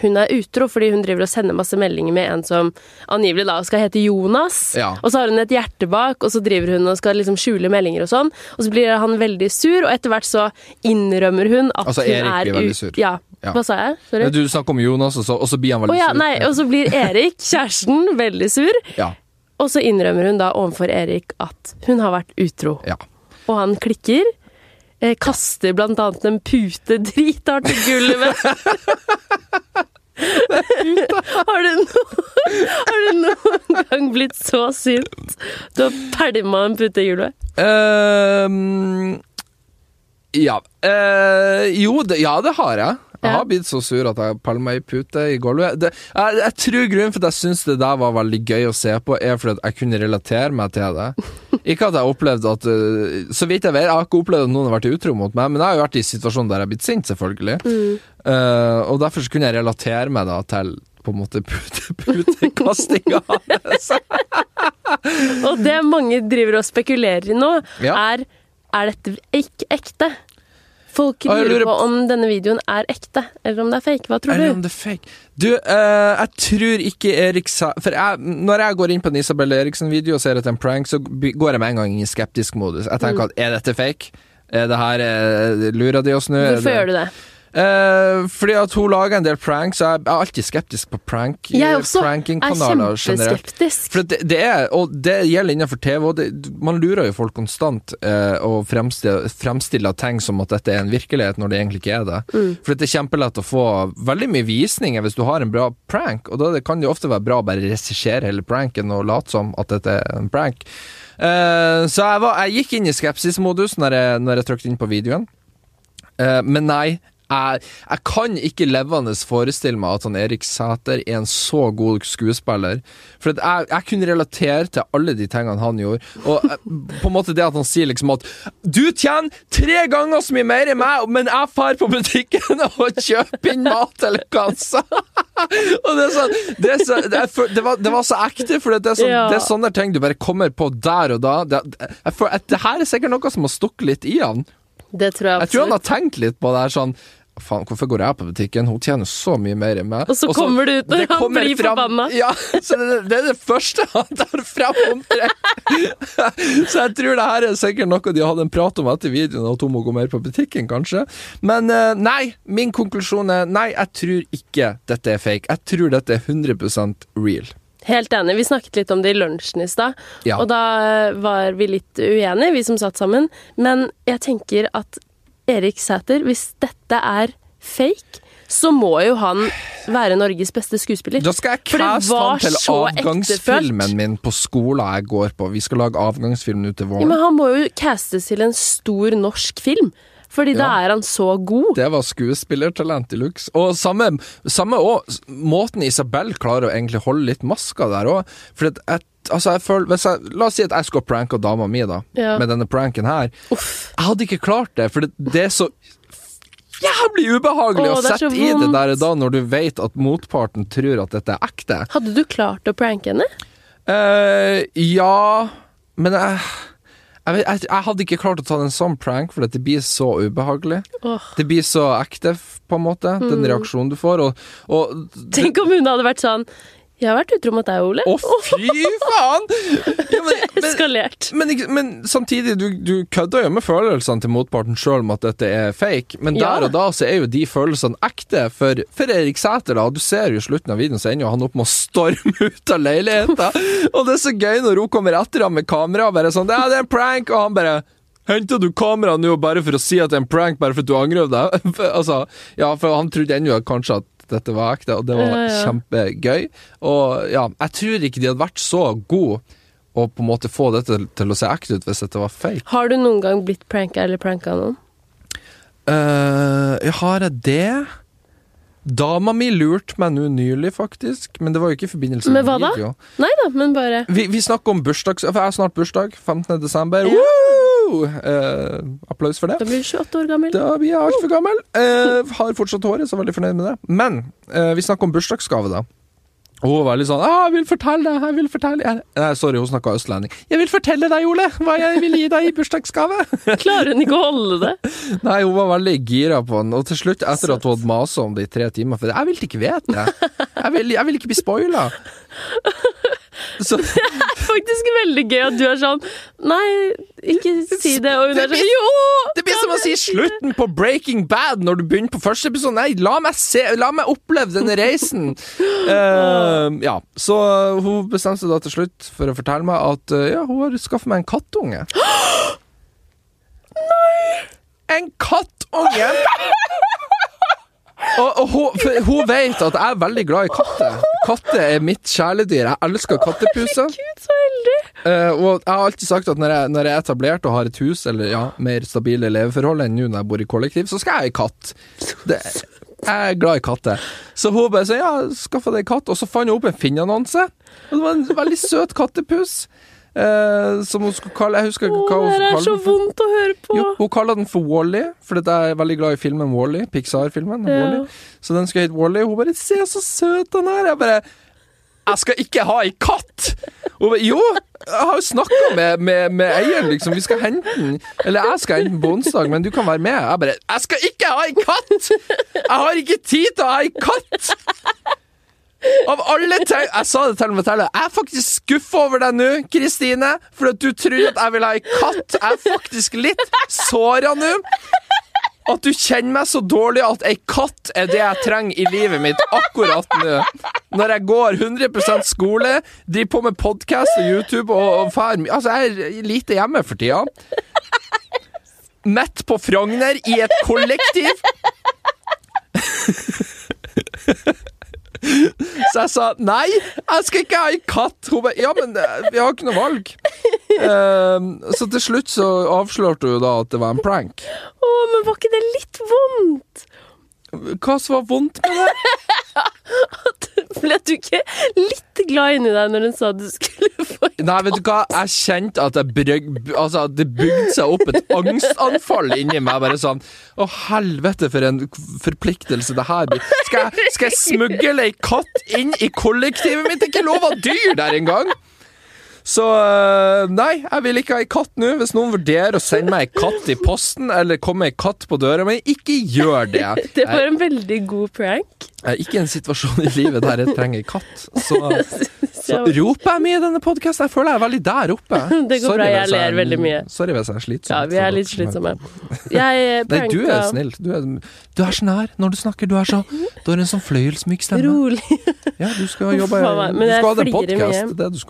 Speaker 1: hun er utro, fordi hun driver og sender masse meldinger med en som angivelig da skal hete Jonas.
Speaker 2: Ja.
Speaker 1: Og så har hun et hjerte bak, og så driver hun og skal liksom skjule meldinger og sånn. Og så blir han veldig sur, og etter hvert så innrømmer hun at
Speaker 2: Altså, Erik
Speaker 1: hun er
Speaker 2: blir veldig
Speaker 1: ut-
Speaker 2: sur.
Speaker 1: Ja.
Speaker 2: Ja.
Speaker 1: Hva sa jeg? Sorry.
Speaker 2: Du snakker om Jonas, og så, og så blir han
Speaker 1: Å
Speaker 2: veldig
Speaker 1: ja,
Speaker 2: sur.
Speaker 1: nei, og så blir Erik, kjæresten, veldig sur.
Speaker 2: Ja,
Speaker 1: Og så innrømmer hun da overfor Erik at hun har vært utro.
Speaker 2: ja.
Speaker 1: Og han klikker. Eh, kaster blant annet en pute drithardt i
Speaker 2: [LAUGHS]
Speaker 1: gulvet. har, du no, har du noen gang blitt så sint? Du har pælma en pute i gulvet.
Speaker 2: Ehm, ja. Eh, jo, det, ja, det har jeg. Jeg
Speaker 1: Ja.
Speaker 2: har blitt så sur at jeg pælma ei pute i gulvet. Det, jeg, jeg tror grunnen for at jeg syns det der var veldig gøy å se på, er fordi at jeg kunne relatere meg til det. Ikke at jeg opplevde at eh, Så vidt jeg vet, jeg har ikke opplevd at noen har vært utro mot meg, men jeg har jo vært i situasjoner der jeg har blitt sint, selvfølgelig. Eh, og derfor så kunne jeg relatere meg da til på en måte [LAUGHS] pute- putekastinga hans.
Speaker 1: Og det mange driver og spekulerer i nå,
Speaker 2: Ja.
Speaker 1: er er dette ikke ekte. Folk
Speaker 2: Og jeg
Speaker 1: lurer
Speaker 2: lurer
Speaker 1: på om denne videoen er ekte, eller om det er fake. Hva tror
Speaker 2: Eller om
Speaker 1: du?
Speaker 2: det er fake. Du, eh, jeg tror ikke Erik sa For jeg, når jeg går inn på en Isabel Eriksen-video og ser at det er en prank, så by- går jeg med en gang inn i skeptisk modus. Jeg tenker
Speaker 1: Mm.
Speaker 2: at er dette fake? Er det her eh, Lurer de oss nå? Eh,
Speaker 1: Hvorfor gjør du det?
Speaker 2: fordi at hun lager en del pranks, og jeg er alltid skeptisk på prank eh,
Speaker 1: Jeg også er
Speaker 2: prankingkanaler generelt.
Speaker 1: kjempeskeptisk.
Speaker 2: For det, det er, og det gjelder innenfor TV, og det, man lurer jo folk konstant eh, og fremstiller, fremstiller ting som at dette er en virkelighet, når det egentlig ikke er det. For det er kjempelett å få veldig mye visninger hvis du har en bra prank, og da det kan det jo ofte være bra å bare regissere hele pranken og late som at dette er en prank. Eh, så jeg, var, jeg gikk inn i skepsismodus når jeg, når jeg trykte inn på videoen, Eh, men nei. Jeg, jeg kan ikke levende forestille meg at han Erik Sæter er en så god skuespiller. For at jeg, jeg kunne relatere til alle de tingene han gjorde. Og eh, på en måte det at han sier liksom at Du tjener tre ganger så mye mer enn meg, men jeg drar på butikken og kjøper inn mat eller kassa! [LAUGHS] og det er sånn Det, er så, det, er, for- det, var, det var så ekte, for det er, sånn,
Speaker 1: Ja.
Speaker 2: det er sånne ting du bare kommer på der og da. Det, jeg, føler at det her er sikkert noe som har stukket litt i han.
Speaker 1: Det tror jeg
Speaker 2: Jeg tror han
Speaker 1: absolutt.
Speaker 2: har tenkt litt på det her sånn Faen, hvorfor går jeg på butikken? Hun tjener så mye mer enn meg.
Speaker 1: Og så kommer det ut når
Speaker 2: det
Speaker 1: han
Speaker 2: kommer
Speaker 1: blir
Speaker 2: fram-
Speaker 1: forbanna.
Speaker 2: Ja, så det, det er det første han tar fram omtrent. [LAUGHS] så jeg tror det her er sikkert noe de hadde en prat om etter videoen, at hun må gå mer på butikken, kanskje. Men eh, nei, min konklusjon er nei, jeg tror ikke dette er fake. Jeg tror dette er 100 real.
Speaker 1: Helt enig. Vi snakket litt om det i lunsjen i stad,
Speaker 2: Ja.
Speaker 1: og da eh, var vi litt uenige, vi som satt sammen. Men jeg tenker at Erik Sæther, hvis dette er fake, så må jo han være Norges beste skuespiller.
Speaker 2: Da skal jeg
Speaker 1: For det
Speaker 2: caste
Speaker 1: var
Speaker 2: han til
Speaker 1: så ektefølt.
Speaker 2: avgangsfilmen min på skolen jeg går på. Vi skal lage avgangsfilm nå til
Speaker 1: Ja,
Speaker 2: våren.
Speaker 1: men han må jo castes til en stor norsk film, fordi da
Speaker 2: Ja.
Speaker 1: er han så god.
Speaker 2: Det var skuespillertalent i lux. Og samme, samme også, måten Isabel klarer å egentlig holde litt maska der òg. For at jeg, altså jeg føler, hvis jeg, la oss si at jeg skulle pranke dama mi da,
Speaker 1: Ja.
Speaker 2: med denne pranken her.
Speaker 1: Uff.
Speaker 2: Jeg hadde ikke klart det, for det, det er så jævlig ubehagelig
Speaker 1: Åh,
Speaker 2: å
Speaker 1: det er så
Speaker 2: sette i det
Speaker 1: vondt.
Speaker 2: der og da, når du vet at motparten tror at dette er ekte.
Speaker 1: Hadde du klart å pranke henne?
Speaker 2: Eh, ja Men jeg, jeg, vet, jeg, jeg hadde ikke klart å ta en sånn prank, for at det blir så ubehagelig.
Speaker 1: Åh.
Speaker 2: Det blir så ekte, f- på en måte, den reaksjonen du får. Og, og
Speaker 1: Tenk om hun hadde vært sånn Jeg har vært utro mot deg, Ole.
Speaker 2: Å, fy faen! Ja, men, men,
Speaker 1: [LAUGHS] Eskalert.
Speaker 2: men, ikke- men samtidig, du, du kødder jo med følelsene til motparten sjøl om at dette er fake, men
Speaker 1: Ja.
Speaker 2: der og da så er jo de følelsene ekte for, for Erik Sæter. da. Du ser jo i slutten av videoen så ender jo han opp med å storme [LAUGHS] ut av leiligheten. og det er så gøy når hun kommer etter ham med kamera og bare sånn Ja, det er en prank! Og han bare Henta du kameraet nå bare for å si at det er en prank, bare for at du angrer deg? [LAUGHS] For, altså, ja, for han trodde ennå kanskje at dette var ekte, og det var
Speaker 1: Ja, ja.
Speaker 2: kjempegøy. Og ja, jeg tror ikke de hadde vært så gode å på en måte få dette til å se ekte ut hvis dette var fake.
Speaker 1: Har du noen gang blitt pranka eller pranka noen?
Speaker 2: Eh, har jeg det? Dama mi lurte meg nå nylig, faktisk, men det var jo ikke i forbindelse
Speaker 1: Med hva da?
Speaker 2: video.
Speaker 1: Nei da, men bare
Speaker 2: Vi, vi snakker om bursdags... For jeg har snart bursdag. 15. desember.
Speaker 1: Ja.
Speaker 2: Woo! Eh, applaus for det.
Speaker 1: Da blir du 28 år gammel.
Speaker 2: Da blir jeg altfor gammel. Eh, har fortsatt håret, så er jeg veldig fornøyd med det. Men eh, vi snakker om bursdagsgave, da. Og Hun var litt sånn ah, 'Jeg vil fortelle deg, jeg vil fortelle jeg, Nei, sorry, hun snakka østlending. 'Jeg vil fortelle deg, Ole, hva jeg vil gi deg i bursdagsgave'.
Speaker 1: Klarer hun ikke å holde det?
Speaker 2: [LAUGHS] Nei, hun var veldig gira på den, og til slutt, etter at hun hadde masa om det i tre timer For jeg ville ikke vite det. Jeg vil, jeg vil ikke bli spoila. [LAUGHS] Så
Speaker 1: Det er faktisk veldig gøy at du er sånn Nei, ikke si det. Og hun er sånn Jo!
Speaker 2: det blir som å si slutten på Breaking Bad når du begynner på første episode. Nei, la meg, se, la meg oppleve denne
Speaker 1: [LAUGHS]
Speaker 2: reisen. Eh, ja, så hun bestemte seg da til slutt for å fortelle meg at eh, ja, hun har skaffet meg en
Speaker 1: [GASPS]
Speaker 2: kattunge. Nei! En
Speaker 1: [LAUGHS]
Speaker 2: kattunge! Og, og hun, for hun vet at jeg er veldig glad i katter. Katter er mitt kjæledyr. Jeg elsker kattepuser.
Speaker 1: Gud, så heldig.
Speaker 2: Eh, og jeg har alltid sagt at når jeg, når jeg er etablert og har et hus, eller ja, mer stabile leveforhold enn nå når jeg bor i kollektiv, så skal jeg ha ei katt. Det, jeg er glad i katter. Så hun bare sa ja, skaffa deg katt, og så fant hun opp en Finn-annonse. Og det var en veldig søt kattepus eh, som hun skulle kalle Jeg husker
Speaker 1: Å,
Speaker 2: ikke hva hun
Speaker 1: det her er
Speaker 2: kalte
Speaker 1: så
Speaker 2: den. for.
Speaker 1: vondt å høre på.
Speaker 2: Jo, hun kaller den for Wally, fordi jeg er veldig glad i filmen Wally, Pixar-filmen.
Speaker 1: Ja.
Speaker 2: Wall-E. Så den skal hete Wally. Hun bare 'Se, så søt han er'. Jeg bare 'Jeg skal ikke ha ei katt'! Hun bare 'Jo, jeg har jo snakka med, med, med eieren, liksom. Vi skal hente den. Eller jeg skal hente den på onsdag, men du kan være med. Jeg bare 'Jeg skal ikke ha ei katt!' Jeg har ikke tid til å ha ei katt! Av alle ting Jeg sa det til og med til deg. Jeg er faktisk skuffa over deg nå, Kristine. For at du tror at jeg vil ha ei katt. Jeg er faktisk litt såra nå. At du kjenner meg så dårlig at ei katt er det jeg trenger i livet mitt akkurat nå. Når jeg går 100 skole, driver på med podkast og YouTube og, og fær Altså, jeg er lite hjemme for tida. Midt på Frogner, i et kollektiv. Så jeg sa nei, jeg skal ikke ha en katt. Hun bare ja, men eh, vi har ikke noe valg. Ehm, så til slutt så avslørte hun da at det var en prank.
Speaker 1: Å, men var ikke det litt vondt?
Speaker 2: Hva som var vondt med det?
Speaker 1: Ble du ikke litt glad inni deg når hun sa du skulle [LAUGHS] få
Speaker 2: Nei, vet du hva, jeg kjente at jeg brøg, altså, at det bygde seg opp et angstanfall inni meg. Bare sånn Å, helvete, for en forpliktelse det her blir. Skal, jeg- skal jeg smugle ei katt inn i kollektivet mitt? Det er ikke lov å ha dyr der engang! Så øh, nei, jeg vil ikke ha ei katt nå. Hvis noen vurderer å sende meg ei katt i posten, eller komme ei katt på døra mi, ikke gjør det.
Speaker 1: [LAUGHS] Det var en veldig god prank.
Speaker 2: Jeg er ikke i en situasjon i livet der jeg trenger ei katt. Så
Speaker 1: Så
Speaker 2: så roper jeg mye i denne podkasten. Jeg føler jeg er veldig der oppe.
Speaker 1: [LAUGHS] Det går bra, jeg
Speaker 2: hvis
Speaker 1: ler veldig mye.
Speaker 2: Sorry hvis jeg er slitsom.
Speaker 1: Ja, vi er litt slitsomme. Jeg
Speaker 2: Nei, du er
Speaker 1: pranka
Speaker 2: snill. Du er, du er så nær når du snakker. Du er så Du har en sånn fløyelsmyk stemme.
Speaker 1: rolig.
Speaker 2: Ja, du skal
Speaker 1: [LAUGHS]
Speaker 2: jobbe
Speaker 1: Faen meg,
Speaker 2: Du
Speaker 1: men jeg
Speaker 2: skal ha en
Speaker 1: flirer
Speaker 2: podkast.
Speaker 1: mye.
Speaker 2: Det er det du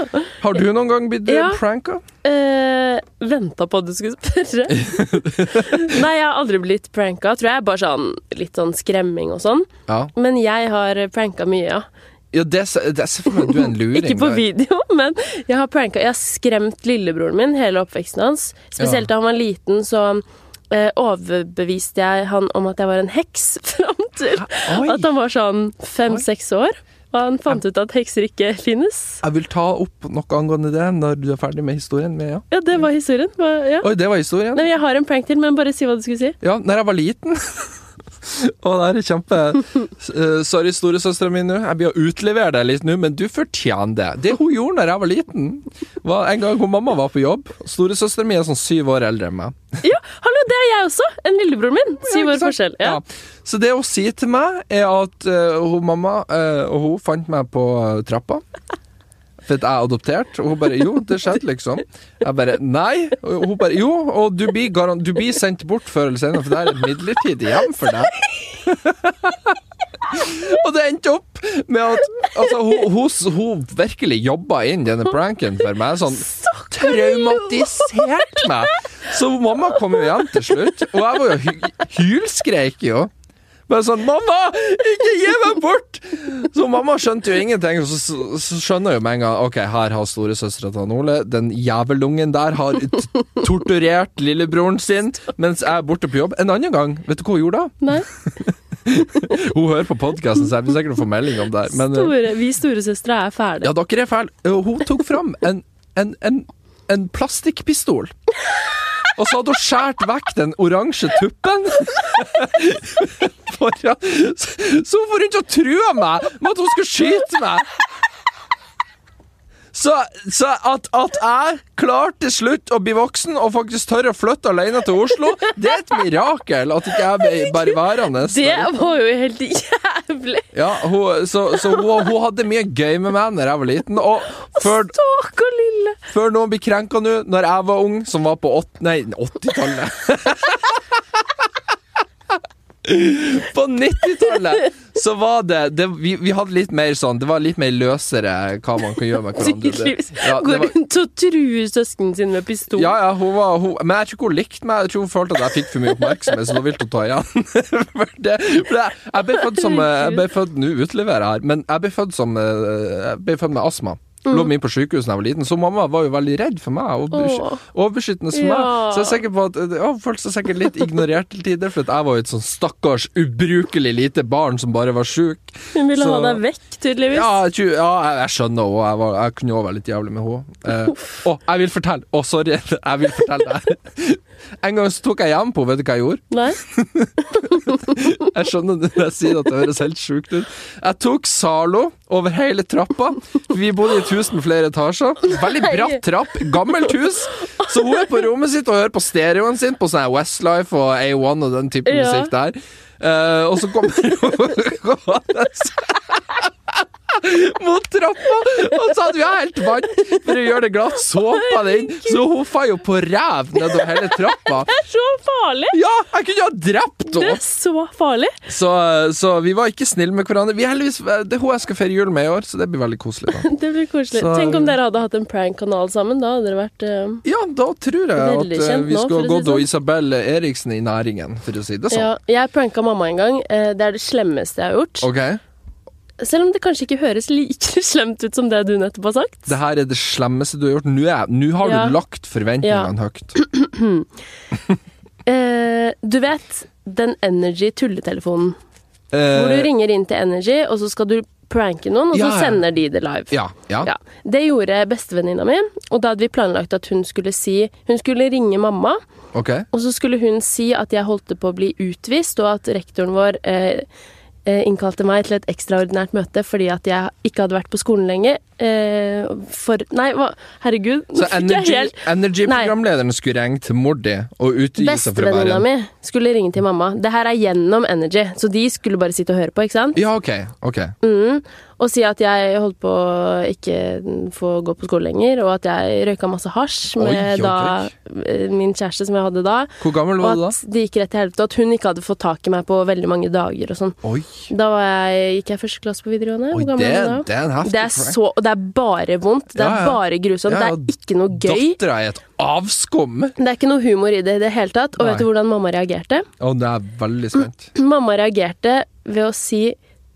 Speaker 1: [LAUGHS]
Speaker 2: skal ha. Har du noen gang blitt
Speaker 1: Ja.
Speaker 2: eh, pranka?
Speaker 1: Uh, Venta på at du skulle
Speaker 2: [LAUGHS]
Speaker 1: spørre. Nei, jeg har aldri blitt pranka. Tror jeg er bare sånn litt sånn skremming og sånn.
Speaker 2: Ja.
Speaker 1: Men jeg har pranka mye, ja.
Speaker 2: ja det, ser- det ser for meg
Speaker 1: [LAUGHS]
Speaker 2: at du er en luring.
Speaker 1: Ikke på
Speaker 2: der.
Speaker 1: video, [LAUGHS] men jeg har pranka Jeg har skremt lillebroren min hele oppveksten hans. Spesielt da han var liten, så eh, overbeviste jeg han om at jeg var en heks, [LAUGHS] fram til
Speaker 2: Oi.
Speaker 1: at han var sånn fem-seks år. Og han fant ut at hekser ikke finnes.
Speaker 2: Jeg vil ta opp noe angående det når du er ferdig med historien. Men ja.
Speaker 1: Ja, det var historien. Hva- Ja.
Speaker 2: Mm. Oi, det var historien.
Speaker 1: Nei, men jeg har en prank til, men bare si hva du skulle si.
Speaker 2: Ja, når jeg var liten [LAUGHS] Og det her er kjempe Eh, Sorry, storesøsteren min nå Jeg blir å utlevere deg litt nå Men du fortjener det Det hun gjorde når jeg var liten Var en gang hun mamma var på jobb Storesøsteren min er sånn syv år eldre enn meg
Speaker 1: Ja, hallo, det er jeg også! En lillebror min. Syv år
Speaker 2: Ja, ikke sant?
Speaker 1: forskjell. Ja.
Speaker 2: Ja. Så det hun sier til meg, er at eh, hun, mamma eh, og hun fant meg på eh, trappa. For at jeg er adoptert. Og hun bare 'jo, det skjedde', liksom. Jeg bare 'nei'. Og hun bare 'jo, og du blir, garan du blir sendt bort før eller senere, for det er et midlertidig hjem for deg'. [LAUGHS] og det endte opp med at altså, hun, hun, hun virkelig jobba inn denne pranken for meg. Sånn traumatisert meg. Så mamma kom jo hjem til slutt, og jeg var jo hy hylskreik jo. Bare sånn 'Mamma, ikke gi meg bort!' Så mamma skjønte jo ingenting. og Så, så, så skjønner jeg jo med en gang Ok, her har storesøstera til han Ole Den jævelungen der har t- torturert lillebroren sin mens jeg er borte på jobb. En annen gang, vet du hva hun gjorde da?
Speaker 1: Nei.
Speaker 2: Hun hører på podkasten, så jeg vil sikkert få melding om det. her, Men eh,
Speaker 1: Store, vi storesøstre er ferdige.
Speaker 2: ja, dere er fæle. Eh, Hun tok fram en, en, en, en plastikkpistol. Og så hadde hun skåret vekk den oransje tuppen. Foran. Så så hun for rundt og trua meg med at hun skulle skyte meg. Så, så at, at jeg klarte til slutt å bli voksen og faktisk tør å flytte alene til Oslo, det er et mirakel at ikke jeg ble bare værende.
Speaker 1: Det var jo helt [LAUGHS] jævlig!
Speaker 2: Ja, hun, så, så hun, hun hadde mye gøy med meg da jeg var liten. Og før,
Speaker 1: Stakkar lille!
Speaker 2: før noen blir krenka nå, når jeg var ung, som var på ått- nei, 80-tallet [LAUGHS] På 90-tallet så var det, det vi, vi hadde litt mer sånn Det var litt mer løsere hva man kan gjøre med hverandre. Det-
Speaker 1: Tydeligvis.
Speaker 2: Ja, det
Speaker 1: Går
Speaker 2: var,
Speaker 1: rundt og truer søsknene sine med pistol.
Speaker 2: ja, ja, hun var hun, Men jeg tror ikke hun likte meg. Jeg tror hun følte at jeg fikk for mye oppmerksomhet, så nå ville hun ta igjen. [LAUGHS] for det, for det, jeg ble født som eh, Jeg ble født Nå utleverer jeg her, men jeg ble født som eh, Jeg ble født med astma. Lå mye på sykehus da jeg var liten, så mamma var jo veldig redd for meg. Og
Speaker 1: Mm. Åh.
Speaker 2: besky- overbeskyttende for meg.
Speaker 1: Ja.
Speaker 2: Så jeg er sikker på at eh, ja, hun følte seg sikkert litt ignorert til tider, for at jeg var jo et sånn stakkars ubrukelig lite barn som bare var sjuk.
Speaker 1: Hun ville
Speaker 2: så-
Speaker 1: ha deg vekk, tydeligvis.
Speaker 2: Ja, jeg, tror- ja, jeg, jeg skjønner henne. Jeg, var- jeg kunne også være litt jævlig med henne. Eh, å, jeg vil fortelle! Å, sorry. [LAUGHS] Jeg vil fortelle det her. En gang så tok jeg hjem på henne. Vet du hva jeg gjorde?
Speaker 1: Nei? [LAUGHS]
Speaker 2: Jeg skjønner når jeg sier at det høres helt sjukt ut. Jeg tok Zalo over hele trappa. Vi bodde i et hus med flere etasjer. Veldig bratt trapp. Gammelt hus. Så hun er på rommet sitt og hører på stereoen sin på sånn her Westlife og A1 og den type
Speaker 1: Ja.
Speaker 2: musikk der. Eh, og så kommer hun [LAUGHS] gående mot trappa, og så hadde vi helt vann for å gjøre det glatt. Såpa det inn, så hun fa jo på ræv nedover hele trappa.
Speaker 1: Det er så farlig!
Speaker 2: Ja, jeg kunne jo ha drept
Speaker 1: Det
Speaker 2: henne!
Speaker 1: er så farlig! [LAUGHS]
Speaker 2: Så, så vi var ikke snille med hverandre. Vi er heldigvis, det er hun jeg skal feire jul med i år, så det blir veldig koselig. da
Speaker 1: Det blir koselig.
Speaker 2: Så-
Speaker 1: Tenk om dere hadde hatt en prank-kanal sammen. Da hadde dere vært eh,
Speaker 2: Ja, da tror jeg at
Speaker 1: Veldig
Speaker 2: eh,
Speaker 1: kjent
Speaker 2: vi
Speaker 1: nå, for å
Speaker 2: skulle
Speaker 1: si
Speaker 2: gått
Speaker 1: det
Speaker 2: og
Speaker 1: sånn.
Speaker 2: Isabel Eriksen i næringen, for å si det sånn.
Speaker 1: Ja, jeg pranka mamma en gang. Eh, Det er det slemmeste jeg har gjort.
Speaker 2: Ok,
Speaker 1: Selv om det kanskje ikke høres like [LAUGHS] slemt ut som det du nettopp har sagt.
Speaker 2: Det her er det slemmeste du har gjort. Nå, er, nå har
Speaker 1: Ja.
Speaker 2: du lagt forventningene høyt.
Speaker 1: Eh, du vet den Energy-tulletelefonen. Hvor du
Speaker 2: Eh,
Speaker 1: ringer inn til Energy, og så skal du pranke noen, og
Speaker 2: Ja,
Speaker 1: så
Speaker 2: ja.
Speaker 1: sender de det live.
Speaker 2: ja, ja.
Speaker 1: Ja. Det gjorde bestevenninna mi, og da hadde vi planlagt at hun skulle si Hun skulle ringe mamma,
Speaker 2: Ok.
Speaker 1: og så skulle hun si at jeg holdt på å bli utvist, og at rektoren vår eh, eh, innkalte meg til et ekstraordinært møte fordi at jeg ikke hadde vært på skolen lenge. Eh, for Nei, hva Herregud. nå
Speaker 2: Så
Speaker 1: fikk jeg helt-
Speaker 2: Energy-programlederen skulle ringe til mor di og utgi seg for å være
Speaker 1: Bestevenninna
Speaker 2: en
Speaker 1: mi skulle ringe til mamma. Det her er gjennom Energy, så de skulle bare sitte og høre på, ikke sant?
Speaker 2: Ja, ok. ok
Speaker 1: Mm. Og si at jeg holdt på å ikke få gå på skole lenger, og at jeg røyka masse hasj
Speaker 2: Oi,
Speaker 1: med
Speaker 2: oi,
Speaker 1: da, eh, min kjæreste som jeg hadde da,
Speaker 2: Hvor gammel
Speaker 1: og
Speaker 2: var du da?
Speaker 1: at det gikk rett til helvete, og at hun ikke hadde fått tak i meg på veldig mange dager og sånn.
Speaker 2: Oi,
Speaker 1: Da var jeg, gikk jeg første klasse på videregående.
Speaker 2: Oi
Speaker 1: Hvor gammel
Speaker 2: det,
Speaker 1: var jeg da?
Speaker 2: det er en heftig
Speaker 1: Det er så, og det er bare vondt. Det er
Speaker 2: Ja, ja.
Speaker 1: bare grusomt.
Speaker 2: Ja, ja.
Speaker 1: Det er ikke noe gøy.
Speaker 2: Dattera er et avskum!
Speaker 1: Det er ikke noe humor i det i det hele tatt. Og
Speaker 2: Nei.
Speaker 1: vet du hvordan mamma reagerte?
Speaker 2: Å, det er veldig spent.
Speaker 1: Mamma reagerte ved å si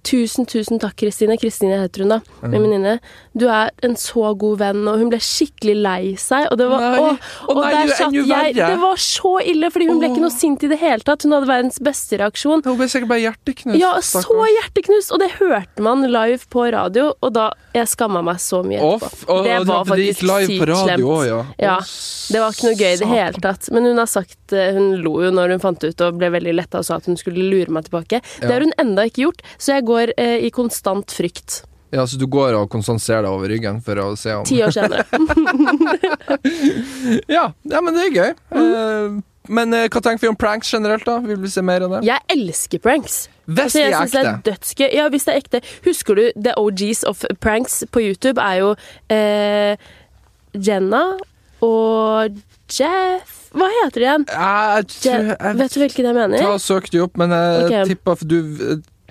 Speaker 1: Tusen, tusen takk, Kristine. Kristine heter hun da,
Speaker 2: Mhm.
Speaker 1: min venninne. Du er en så god venn, og hun ble skikkelig lei seg. Og det var,
Speaker 2: Nei.
Speaker 1: Åh,
Speaker 2: Å
Speaker 1: og
Speaker 2: nei,
Speaker 1: der
Speaker 2: det er
Speaker 1: satt
Speaker 2: enda
Speaker 1: jeg,
Speaker 2: verre.
Speaker 1: det var så ille, fordi hun ble ikke noe sint i det hele tatt. Hun hadde verdens beste reaksjon.
Speaker 2: Hun ble sikkert bare hjerteknust.
Speaker 1: Ja, så hjerteknust! Og det hørte man live på radio, og da Jeg skamma meg så mye etterpå. det var faktisk sykt slemt.
Speaker 2: ja.
Speaker 1: Ja,
Speaker 2: Å,
Speaker 1: Det var ikke noe gøy i det
Speaker 2: satan.
Speaker 1: hele tatt. Men hun har sagt eh, Hun lo jo når hun fant det ut og ble veldig letta og sa at hun skulle lure meg tilbake. Det har hun enda ikke gjort, så jeg går eh, i konstant frykt.
Speaker 2: Ja, så du går og konsenserer deg over ryggen for å se om
Speaker 1: Ti år senere.
Speaker 2: [LAUGHS] Ja, ja men det er gøy.
Speaker 1: Mm.
Speaker 2: Eh, men eh, hva tenker vi om pranks generelt, da? Vil vi se mer av det?
Speaker 1: Jeg elsker pranks.
Speaker 2: Hvis
Speaker 1: Så altså,
Speaker 2: de
Speaker 1: jeg
Speaker 2: er
Speaker 1: synes det er
Speaker 2: ekte.
Speaker 1: dødsgøy. Ja, hvis det er ekte. Husker du The OGs of pranks på YouTube er jo eh, Jenna og Jeff Hva heter de igjen?
Speaker 2: Jeg
Speaker 1: Je
Speaker 2: tror jeg,
Speaker 1: vet du hvilken jeg mener?
Speaker 2: Ta og Søk de opp, men jeg
Speaker 1: Ok.
Speaker 2: tippa for du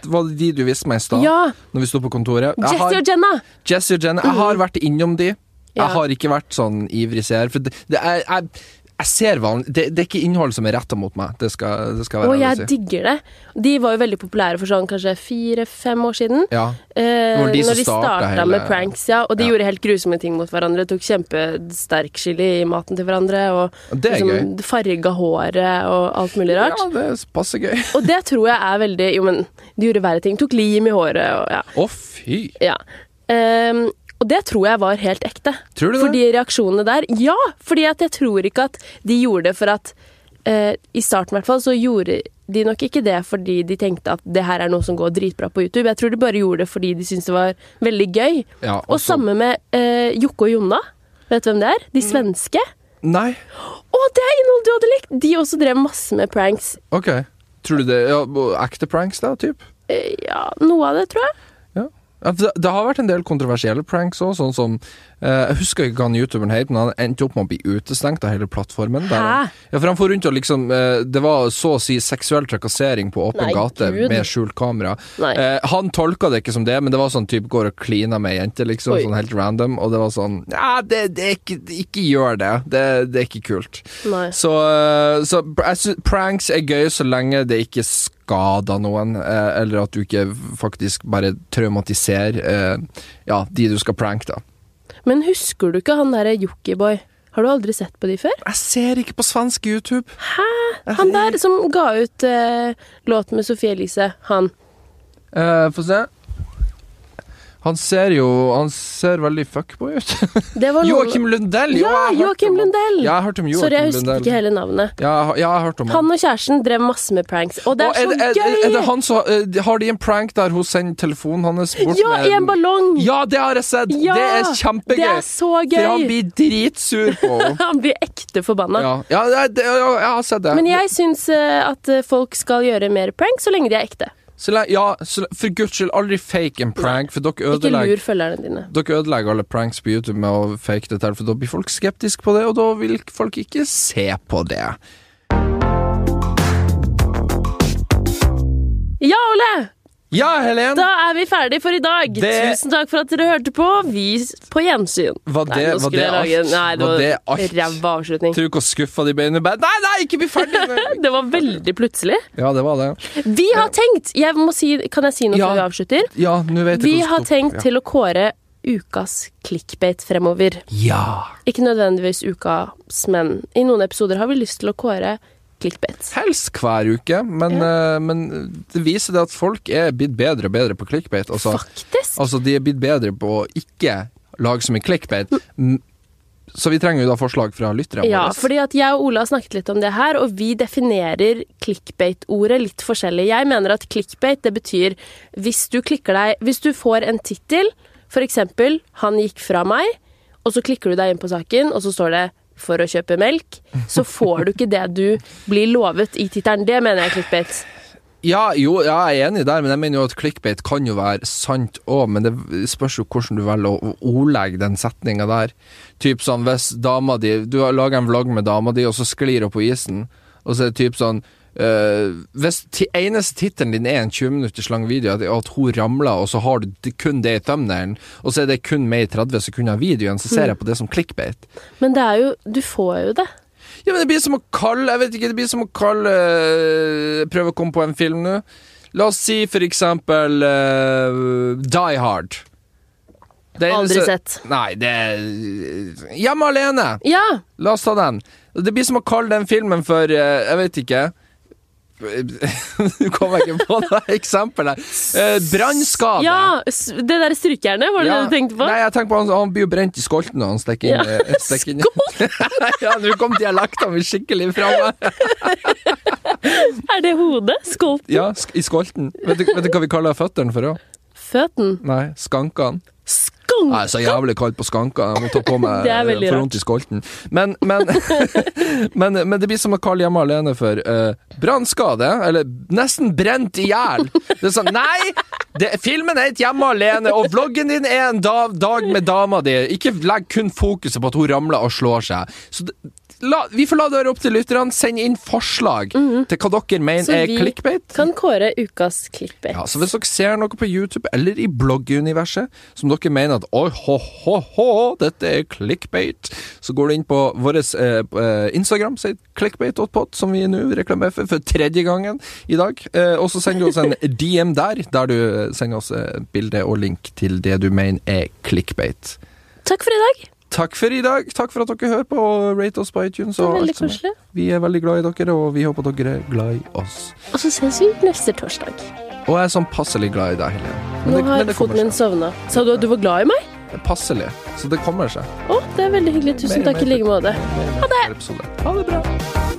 Speaker 2: var det de du viste meg i stad?
Speaker 1: Ja!
Speaker 2: Når vi sto på kontoret? Jeg
Speaker 1: Jesse
Speaker 2: har,
Speaker 1: og Jenna!
Speaker 2: Jesse og Jenna. Jeg har vært innom de.
Speaker 1: Mhm. Ja.
Speaker 2: Jeg har ikke vært sånn ivrig seer. For det, det er, jeg, Jeg ser vanlig det, det er ikke innhold som er retta mot meg. Det skal, det skal
Speaker 1: Og
Speaker 2: være
Speaker 1: jeg
Speaker 2: ærlig å si.
Speaker 1: digger det. De var jo veldig populære for sånn kanskje fire-fem år siden.
Speaker 2: Ja.
Speaker 1: Eh,
Speaker 2: var de som
Speaker 1: når de
Speaker 2: starta
Speaker 1: starta
Speaker 2: hele-
Speaker 1: med pranks, ja. Og de
Speaker 2: Ja.
Speaker 1: gjorde helt grusomme ting mot hverandre. Tok kjempesterk chili i maten til hverandre. Og
Speaker 2: Det er gøy.
Speaker 1: liksom, farga håret og alt mulig rart.
Speaker 2: Ja, det er passe gøy.
Speaker 1: [LAUGHS] Og det tror jeg er veldig Jo, men de gjorde verre ting. Tok lim i håret og ja.
Speaker 2: Å, fy!
Speaker 1: ja. Ehm, og det tror jeg var helt ekte.
Speaker 2: Tror du det?
Speaker 1: For de reaksjonene der Ja! fordi at jeg tror ikke at de gjorde det for at eh, I starten i hvert fall så gjorde de nok ikke det fordi de tenkte at det her er noe som går dritbra på YouTube. Jeg tror de bare gjorde det fordi de syntes det var veldig gøy.
Speaker 2: Ja, altså.
Speaker 1: Og samme med eh, Jokke og Jonna. Vet du hvem det er?
Speaker 2: Mm.
Speaker 1: De svenske.
Speaker 2: Nei,
Speaker 1: Å, det er innhold du hadde likt! De også drev masse med pranks.
Speaker 2: OK. Tror du det ja, Ekte pranks, da? Typ?
Speaker 1: Eh, ja, noe av det, tror jeg.
Speaker 2: Ja. Ja, for Det, det har vært en del kontroversielle pranks òg, sånn som eh, Jeg husker ikke hva han youtuberen het, men han endte opp med å bli utestengt av hele plattformen. Der han,
Speaker 1: Hæ?
Speaker 2: ja, for han for rundt og liksom eh, Det var så å si seksuell trakassering på åpen
Speaker 1: Nei,
Speaker 2: gate
Speaker 1: Gud.
Speaker 2: med skjult kamera.
Speaker 1: Nei.
Speaker 2: Eh, han tolka det ikke som det, men det var sånn type går og kliner med ei jente, liksom.
Speaker 1: Oi.
Speaker 2: Sånn helt random. Og det var sånn Ja, det, det er ikke, ikke gjør det. det. Det er ikke kult.
Speaker 1: Nei.
Speaker 2: Så, eh, så pr- jeg sy- pranks er gøy så lenge det ikke skader noen, eh, eller at du ikke faktisk bare traumatiserer eh, ja, de du skal pranke, da.
Speaker 1: Men husker du ikke han derre Jokkiboi? Har du aldri sett på de før?
Speaker 2: Jeg ser ikke på svensk YouTube. Hæ?
Speaker 1: Han der som ga ut eh, låt med Sofie Elise, han.
Speaker 2: Eh, Få se. Han ser jo Han ser veldig fuckboy ut.
Speaker 1: Det var noen...
Speaker 2: Joakim Lundell! jo,
Speaker 1: Ja,
Speaker 2: jeg har hørt
Speaker 1: Joakim
Speaker 2: om han.
Speaker 1: Lundell!
Speaker 2: Ja, jeg har hørt om
Speaker 1: Sorry, jeg
Speaker 2: Joakim
Speaker 1: husker
Speaker 2: Lundell.
Speaker 1: ikke hele navnet.
Speaker 2: Ja, jeg har- ja, jeg har hørt om
Speaker 1: Han og kjæresten drev masse med pranks, og det
Speaker 2: Og
Speaker 1: er så
Speaker 2: det- er,
Speaker 1: gøy!
Speaker 2: er det han som eh, Har de en prank der hun sender telefonen hans bort
Speaker 1: ja,
Speaker 2: med
Speaker 1: i en ballong!
Speaker 2: Ja, det har jeg sett!
Speaker 1: Ja,
Speaker 2: det er kjempegøy!
Speaker 1: Det er så gøy!
Speaker 2: For han blir dritsur på henne.
Speaker 1: [LAUGHS] Han blir ekte forbanna.
Speaker 2: ja, ja, det- det- ja, jeg har sett det.
Speaker 1: Men jeg syns eh, at eh, folk skal gjøre mer pranks så lenge de er ekte.
Speaker 2: så, le- ja, så, le- for guds skyld, aldri fake en prank, for dere
Speaker 1: Ikke
Speaker 2: ødelegger
Speaker 1: lur følgerne dine.
Speaker 2: dere ødelegger alle pranks på YouTube med å fake det til, for da blir folk skeptiske på det, og da vil folk ikke se på det.
Speaker 1: Ja, Ole!
Speaker 2: Ja, Helen!
Speaker 1: Da er vi ferdig for i dag.
Speaker 2: Det-
Speaker 1: Tusen takk for at dere hørte på. Vi s- på gjensyn.
Speaker 2: Var det-
Speaker 1: nei, nå
Speaker 2: var
Speaker 1: skulle
Speaker 2: det
Speaker 1: jeg lage-
Speaker 2: alt?
Speaker 1: Nei, det
Speaker 2: Var det
Speaker 1: var,
Speaker 2: alt?
Speaker 1: ræva avslutning.
Speaker 2: Tror du ikke å skuffe de beina bare Nei, nei, ikke bli ferdig!
Speaker 1: [LAUGHS]
Speaker 2: nå!»
Speaker 1: Det var veldig plutselig.
Speaker 2: ja, det var det.
Speaker 1: Vi har tenkt jeg må si, Kan jeg si noe
Speaker 2: Ja.
Speaker 1: før vi avslutter?
Speaker 2: Ja, nå vet jeg
Speaker 1: Vi
Speaker 2: hvordan
Speaker 1: har
Speaker 2: du-
Speaker 1: tenkt til å kåre ukas clickbait fremover.
Speaker 2: Ja!
Speaker 1: Ikke nødvendigvis ukas, men i noen episoder har vi lyst til å kåre clickbait.
Speaker 2: Helst hver uke, men, eh, men det viser det at folk er blitt bedre og bedre på clickbait. Altså,
Speaker 1: Faktisk.
Speaker 2: Altså, de er blitt bedre på å ikke lage så mye clickbait. Mm. Så vi trenger jo da forslag fra lytterne
Speaker 1: Ja,
Speaker 2: våre.
Speaker 1: fordi at jeg og Ola har snakket litt om det her, og vi definerer clickbait-ordet litt forskjellig. Jeg mener at clickbait, det betyr hvis du klikker deg Hvis du får en tittel, for eksempel 'Han gikk fra meg', og så klikker du deg inn på saken, og så står det 'For å kjøpe melk', så får du ikke det du blir lovet i tittelen. Det mener jeg er clickbait.
Speaker 2: Ja, jo, ja, jeg er enig der, men jeg mener jo at clickbait kan jo være sant òg, men det spørs jo hvordan du velger å å ordlegge den setninga der. Typ sånn hvis dama di Du har laget en vlogg med dama di, og så sklir hun på isen, og så er det typ sånn eh, hvis ti- eneste tittelen din er en 20 minutters lang video, at, at hun ramler, og så har du d- kun det i thumbnailen, og så er det kun med i 30 sekunder av videoen, så ser jeg på det som clickbait.
Speaker 1: Men det er jo Du får jo det.
Speaker 2: Ja, men det blir som å kalle Jeg vet ikke, det blir som å kalle øh, Prøve å komme på en film nå. La oss si for eksempel øh, Die Hard. Det
Speaker 1: Aldri
Speaker 2: eneste-
Speaker 1: sett.
Speaker 2: Nei, det er Hjemme alene!
Speaker 1: Ja!
Speaker 2: La oss ta den. Det blir som å kalle den filmen for øh, Jeg vet ikke. [LAUGHS] Nå kommer jeg ikke på det eksempelet. Uh, Brannskade.
Speaker 1: ja s- det derre strykejernet, var det
Speaker 2: Ja.
Speaker 1: det du tenkte på?
Speaker 2: Nei, jeg tenker på han, han blir jo brent i skolten når han stikker inn.
Speaker 1: Ja.
Speaker 2: eh, stikker
Speaker 1: [LAUGHS]
Speaker 2: inn. [LAUGHS] ja, nå kom dialekten min skikkelig fram. her.
Speaker 1: Er det hodet? Skolten?
Speaker 2: Ja, sk i skolten. Vet du, vet du hva vi kaller føttene for òg?
Speaker 1: Føten?
Speaker 2: Nei, skankene.
Speaker 1: Skank!
Speaker 2: Nei, så jævlig kaldt på skankene. Jeg må ta
Speaker 1: [LAUGHS]
Speaker 2: på meg
Speaker 1: Det er veldig
Speaker 2: for
Speaker 1: rart.
Speaker 2: vondt i skolten. Men, men, [LAUGHS] men, men det blir som å kalle hjemme alene for eh, brannskade, eller nesten brent i hjel. Det er sånn Nei! Det, filmen het Hjemme alene, og vloggen din er en da, dag med dama di. Ikke legg kun fokuset på at hun ramler og slår seg. Så det, la, vi får la det være opp til lytterne. Send inn forslag til hva dere mener
Speaker 1: Mhm. Så
Speaker 2: er
Speaker 1: vi-
Speaker 2: clickbait.
Speaker 1: Kan kåre ukas clickbait.
Speaker 2: Ja, så Hvis dere ser noe på YouTube eller i blogguniverset som dere mener at Oi, ho, ho, ho, dette er clickbait. Så går du inn på vår eh, eh, Instagram, sier clickbait.pod, som vi nå reklamerer for for tredje gangen i dag. Eh, og så sender du oss
Speaker 1: [LAUGHS]
Speaker 2: en DM der, der du sender oss eh, bilde og link til det du mener er clickbait.
Speaker 1: Takk for i dag.
Speaker 2: Takk for i dag. Takk for at dere hører på og rate oss på iTunes.
Speaker 1: Det
Speaker 2: Og
Speaker 1: var
Speaker 2: alt
Speaker 1: veldig
Speaker 2: som er.
Speaker 1: koselig.
Speaker 2: Vi er veldig glad i dere, og vi håper dere er glad i oss.
Speaker 1: Og så ses vi neste torsdag.
Speaker 2: Og jeg er sånn passelig glad i deg, Helene. Men
Speaker 1: Nå
Speaker 2: det- men
Speaker 1: har
Speaker 2: det kommer
Speaker 1: foten min
Speaker 2: seg.
Speaker 1: sovna. Sa du at du var glad i meg?
Speaker 2: Passelig. Så det kommer seg.
Speaker 1: Å, det er veldig hyggelig. Tusen
Speaker 2: Mer og
Speaker 1: takk i
Speaker 2: mer
Speaker 1: like måte.
Speaker 2: Ha det! Ha det bra.